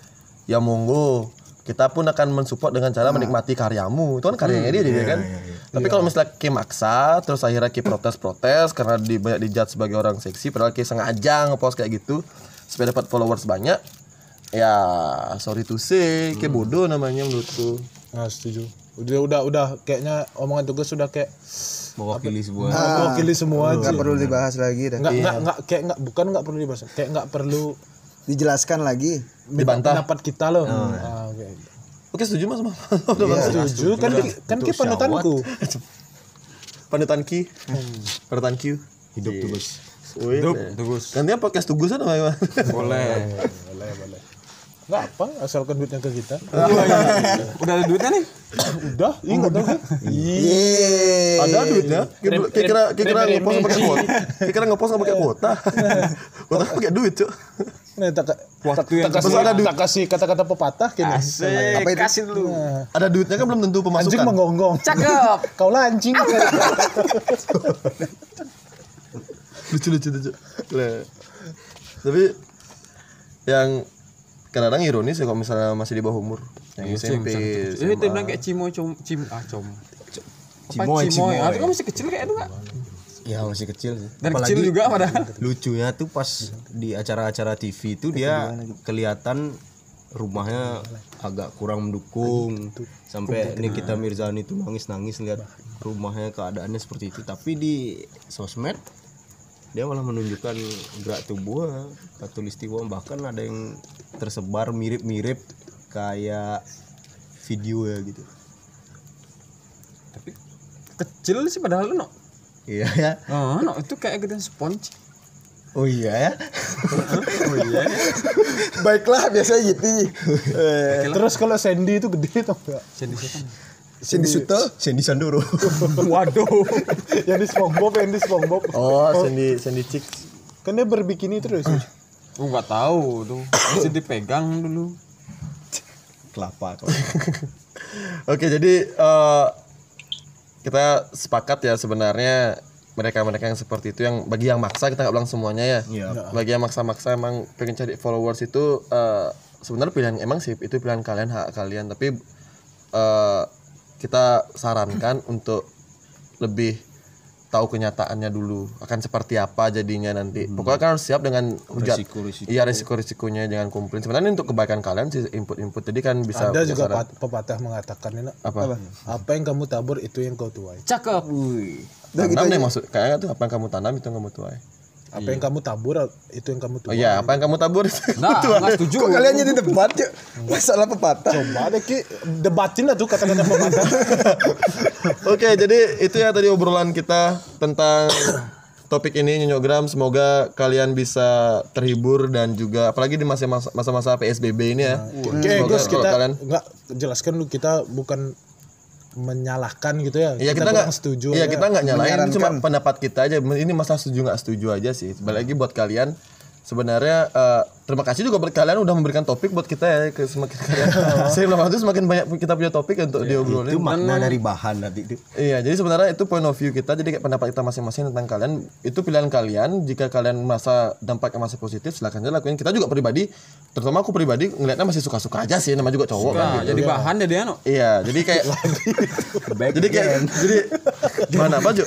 Speaker 3: ya monggo kita pun akan mensupport dengan cara menikmati karyamu. Itu kan karyanya dia jadi kan. Tapi kalau misalnya Ki maksa, terus akhirnya Ki protes-protes karena di, banyak dijudge sebagai orang seksi, padahal Ki sengaja ngepost kayak gitu supaya dapat followers banyak. Ya, sorry to say, Ki bodoh namanya menurutku.
Speaker 1: nah setuju udah udah udah kayaknya omongan tugas sudah kayak
Speaker 5: Mewakili sebuah
Speaker 1: mewakili semua aja
Speaker 4: Gak perlu dibahas lagi dah.
Speaker 1: nggak nggak nggak kayak nggak bukan nggak perlu dibahas kayak nggak perlu
Speaker 4: Dijelaskan lagi.
Speaker 1: minta pendapat kita loh Ah, oke.
Speaker 3: Oke, setuju Mas. Udah Mas.
Speaker 1: setuju kan ki- kan ki panutanku
Speaker 3: Panutan Ki. Panutan Q.
Speaker 5: hidup tulus.
Speaker 3: Wih.
Speaker 6: Tugus.
Speaker 3: Nantinya podcast tugusan apa gimana?
Speaker 6: Boleh.
Speaker 1: nggak apa asalkan duitnya ke kita
Speaker 3: Iya.
Speaker 6: Udah ada duitnya nih.
Speaker 1: udah ingat dong Iya.
Speaker 4: Yeay.
Speaker 3: ada duitnya kira-kira kira ngepost pakai kuota kira-kira ngepost nggak pakai kuota kuota pakai duit cuk
Speaker 1: Nah, tak, tak,
Speaker 6: yang
Speaker 1: tak kasih,
Speaker 3: besar ada duit.
Speaker 1: tak kasih kata-kata pepatah kini.
Speaker 6: Asik. Kasih dulu.
Speaker 4: Iya,
Speaker 3: ada duitnya kan belum tentu
Speaker 1: Anjing
Speaker 3: pemasukan
Speaker 1: menggonggong.
Speaker 6: Cakep.
Speaker 1: Kau lah anjing.
Speaker 3: lucu lucu lucu Lah. tapi yang kadang-kadang ironis ya kalau misalnya masih di bawah umur yang SMP
Speaker 6: Ini dia bilang kayak cimo com cim ah com.
Speaker 5: Cimoy,
Speaker 6: cimo
Speaker 5: cimoy.
Speaker 6: ya. Itu kan masih kecil kayak itu enggak?
Speaker 5: Ya masih kecil sih.
Speaker 6: Dan kecil juga padahal.
Speaker 5: lucunya tuh pas di acara-acara TV itu dia
Speaker 6: gitu.
Speaker 5: kelihatan rumahnya agak kurang mendukung sampai Nikita Mirzani tuh nangis-nangis lihat rumahnya keadaannya seperti itu tapi di sosmed dia malah menunjukkan gerak tubuh katulistiwa bahkan ada yang tersebar mirip-mirip kayak video ya gitu
Speaker 6: Kecil sih padahal no.
Speaker 5: iya ya
Speaker 6: Oh, no itu kayak gedean sponge.
Speaker 5: oh iya ya Oh iya
Speaker 4: Baiklah biasa gitu.
Speaker 1: Terus kalau Sandy itu gede tau gak?
Speaker 6: Jadi setan.
Speaker 4: Cindy Suto.
Speaker 5: Sandy Sandoro
Speaker 6: Waduh.
Speaker 1: Yang di SpongeBob, yang di SpongeBob.
Speaker 3: oh Sandy Sandy Chicks
Speaker 1: Kan dia berbikini terus.
Speaker 6: Gua enggak tahu tuh. Masih dipegang dulu.
Speaker 5: kelapa kelapa
Speaker 3: Oke, jadi eh, kita sepakat ya sebenarnya mereka-mereka yang seperti itu yang bagi yang maksa kita nggak bilang semuanya ya.
Speaker 1: Iya.
Speaker 3: Bagi yang maksa-maksa emang pengen cari followers itu eh, sebenarnya pilihan emang sih itu pilihan kalian hak kalian tapi eh, kita sarankan untuk lebih tahu kenyataannya dulu akan seperti apa jadinya
Speaker 1: Hmm.
Speaker 3: nanti. Pokoknya kan harus siap dengan hujat.
Speaker 5: Resiko-resiko.
Speaker 3: Iya risiko-risikonya jangan komplain. Sebenarnya ini untuk kebaikan kalian sih input-input tadi kan bisa
Speaker 1: Ada
Speaker 3: punya
Speaker 1: juga
Speaker 3: saran.
Speaker 1: pat- pepatah mengatakan ini.
Speaker 3: apa?
Speaker 1: Apa yang kamu tabur itu yang kau tuai.
Speaker 6: Cakep. Wih.
Speaker 4: Nah, gitu.
Speaker 3: tanam deh maksud kayaknya tuh apa yang kamu tanam itu yang kamu tuai
Speaker 1: Apa yang kamu tabur itu yang kamu
Speaker 3: oh
Speaker 1: tuai.
Speaker 3: iya apa yang kamu tabur itu yang
Speaker 6: Nah,
Speaker 3: kamu tuai.
Speaker 6: enggak setuju.
Speaker 4: Kok kalian jadi debat yuk? Masalah pepatah.
Speaker 1: Coba deh ki debatin lah tuh kata-kata pepatah.
Speaker 3: Hmm, oke jadi itu ya tadi obrolan kita tentang topik ini nyonyogram semoga kalian bisa terhibur dan juga apalagi di masa- masa- masa-masa PSBB ini ya
Speaker 1: Oke,
Speaker 3: Semoga
Speaker 1: Gus
Speaker 3: kalau
Speaker 1: kita
Speaker 3: kalian
Speaker 1: nggak jelaskan lu kita bukan menyalahkan gitu ya.
Speaker 3: Iya kita nggak
Speaker 1: kurang setuju. ya.
Speaker 3: Iya
Speaker 1: aja.
Speaker 3: kita nggak nyalain itu cuma pendapat kita aja. Ini masalah setuju nggak setuju aja sih. Balik lagi buat kalian sebenarnya eh, terima kasih juga buat kalian udah memberikan topik buat kita ya ke semakin kalian. Semakin lama itu semakin banyak kita punya topik untuk
Speaker 1: Iya,
Speaker 3: diobrolin.
Speaker 5: itu makna dari bahan nanti itu
Speaker 3: Iya, jadi sebenarnya itu point of view kita, jadi kayak pendapat kita masing-masing tentang kalian, itu pilihan kalian. Jika kalian merasa dampaknya masih positif, silahkan aja lakuin. Kita juga pribadi, terutama aku pribadi ngelihatnya masih suka-suka aja sih, nama juga cowok kan.
Speaker 4: Iya,
Speaker 6: Nah, jadi bahan deh dia no.
Speaker 3: Iya, jadi kayak jadi
Speaker 5: iya.
Speaker 3: kayak jadi mana baju?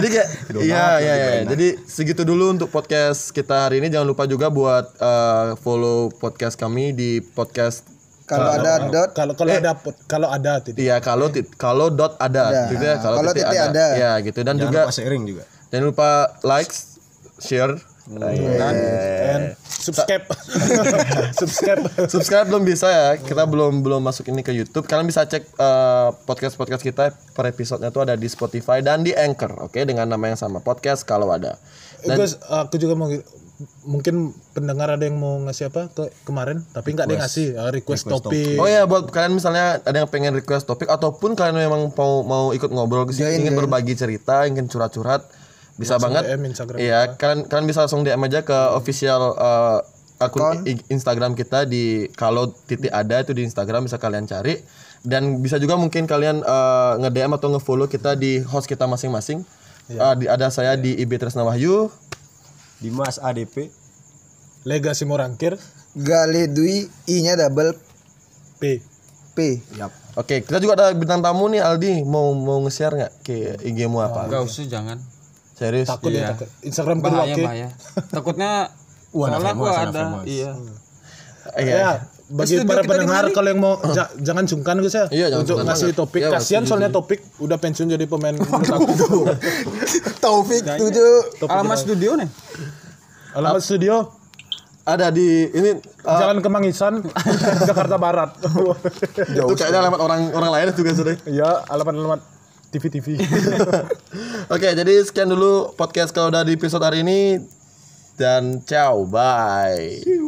Speaker 3: jadi kayak iya iya iya. Jadi segitu dulu untuk podcast kita hari ini. Jangan lupa juga buat eh, follow podcast kami di podcast
Speaker 4: Kalau ada dot
Speaker 3: Eh.
Speaker 1: kalau kalau ada kalau ada tidak.
Speaker 3: Iya, kalau tit- kalau dot ada, gitu ya. Kalau,
Speaker 4: Kalau
Speaker 3: titik
Speaker 4: titik
Speaker 3: ada.
Speaker 4: ada.
Speaker 3: Iya, gitu. Dan
Speaker 5: jangan
Speaker 3: juga
Speaker 5: lupa sharing juga
Speaker 3: jangan lupa likes, share
Speaker 1: Dan
Speaker 3: Eh.
Speaker 1: and Kan? subscribe. subscribe.
Speaker 3: subscribe belum bisa ya kita belum belum masuk ini ke YouTube kalian bisa cek podcast podcast kita per episodenya tuh ada di Spotify dan di Anchor oke dengan nama yang sama podcast kalau ada dan
Speaker 1: Terus aku juga mau mungkin pendengar ada yang mau ngasih apa ke kemarin tapi nggak ada yang ngasih eh, request, topik.
Speaker 3: oh ya buat kalian misalnya ada yang pengen request topik ataupun kalian memang mau mau ikut ngobrol ke sini ingin berbagi cerita ingin curhat-curhat bisa banget
Speaker 1: DM Instagram.
Speaker 3: Iya, kalian kalian bisa langsung DM aja ke official eh, akun i- Instagram kita di kalau titik ada itu di Instagram bisa kalian cari dan bisa juga mungkin kalian eh, nge-DM atau nge-follow kita di host kita masing-masing. Eh, di- ada saya di IB Tresna Wahyu,
Speaker 5: Dimas ADP
Speaker 1: Legasi Morangkir
Speaker 4: Gale Dwi I-nya double
Speaker 1: P.
Speaker 4: P.
Speaker 3: Oke, kita juga ada bintang tamu nih Aldi, mau mau nge-share nggak ke IG-mu apa?
Speaker 6: Enggak usah jangan.
Speaker 3: Serius?
Speaker 1: Takut ya takut. Instagram kedua
Speaker 6: Bahaya
Speaker 1: K.
Speaker 6: bahaya. Takutnya soalnya gua ada. Iya.
Speaker 3: Iya.
Speaker 1: Ya, bagi para pendengar kalau yang mau ja- jangan sungkan guys ya
Speaker 3: Iya, jangan
Speaker 1: untuk
Speaker 3: sungkan.
Speaker 1: ngasih topik. Kasihan soalnya topik udah pensiun jadi pemain bulu tangkis.
Speaker 4: Taufik
Speaker 6: Nah,
Speaker 4: tujuh.
Speaker 6: iya. Alamat studio nih.
Speaker 3: Ah.
Speaker 1: Alamat studio
Speaker 3: Ada di ini eh,
Speaker 1: Jalan Kemangisan, Jakarta Barat.
Speaker 3: itu kayaknya alamat orang orang lain juga sudah.
Speaker 1: ya, alamat-alamat TV-TV.
Speaker 3: Oke, jadi sekian dulu podcast kalau udah di episode hari ini dan ciao, bye.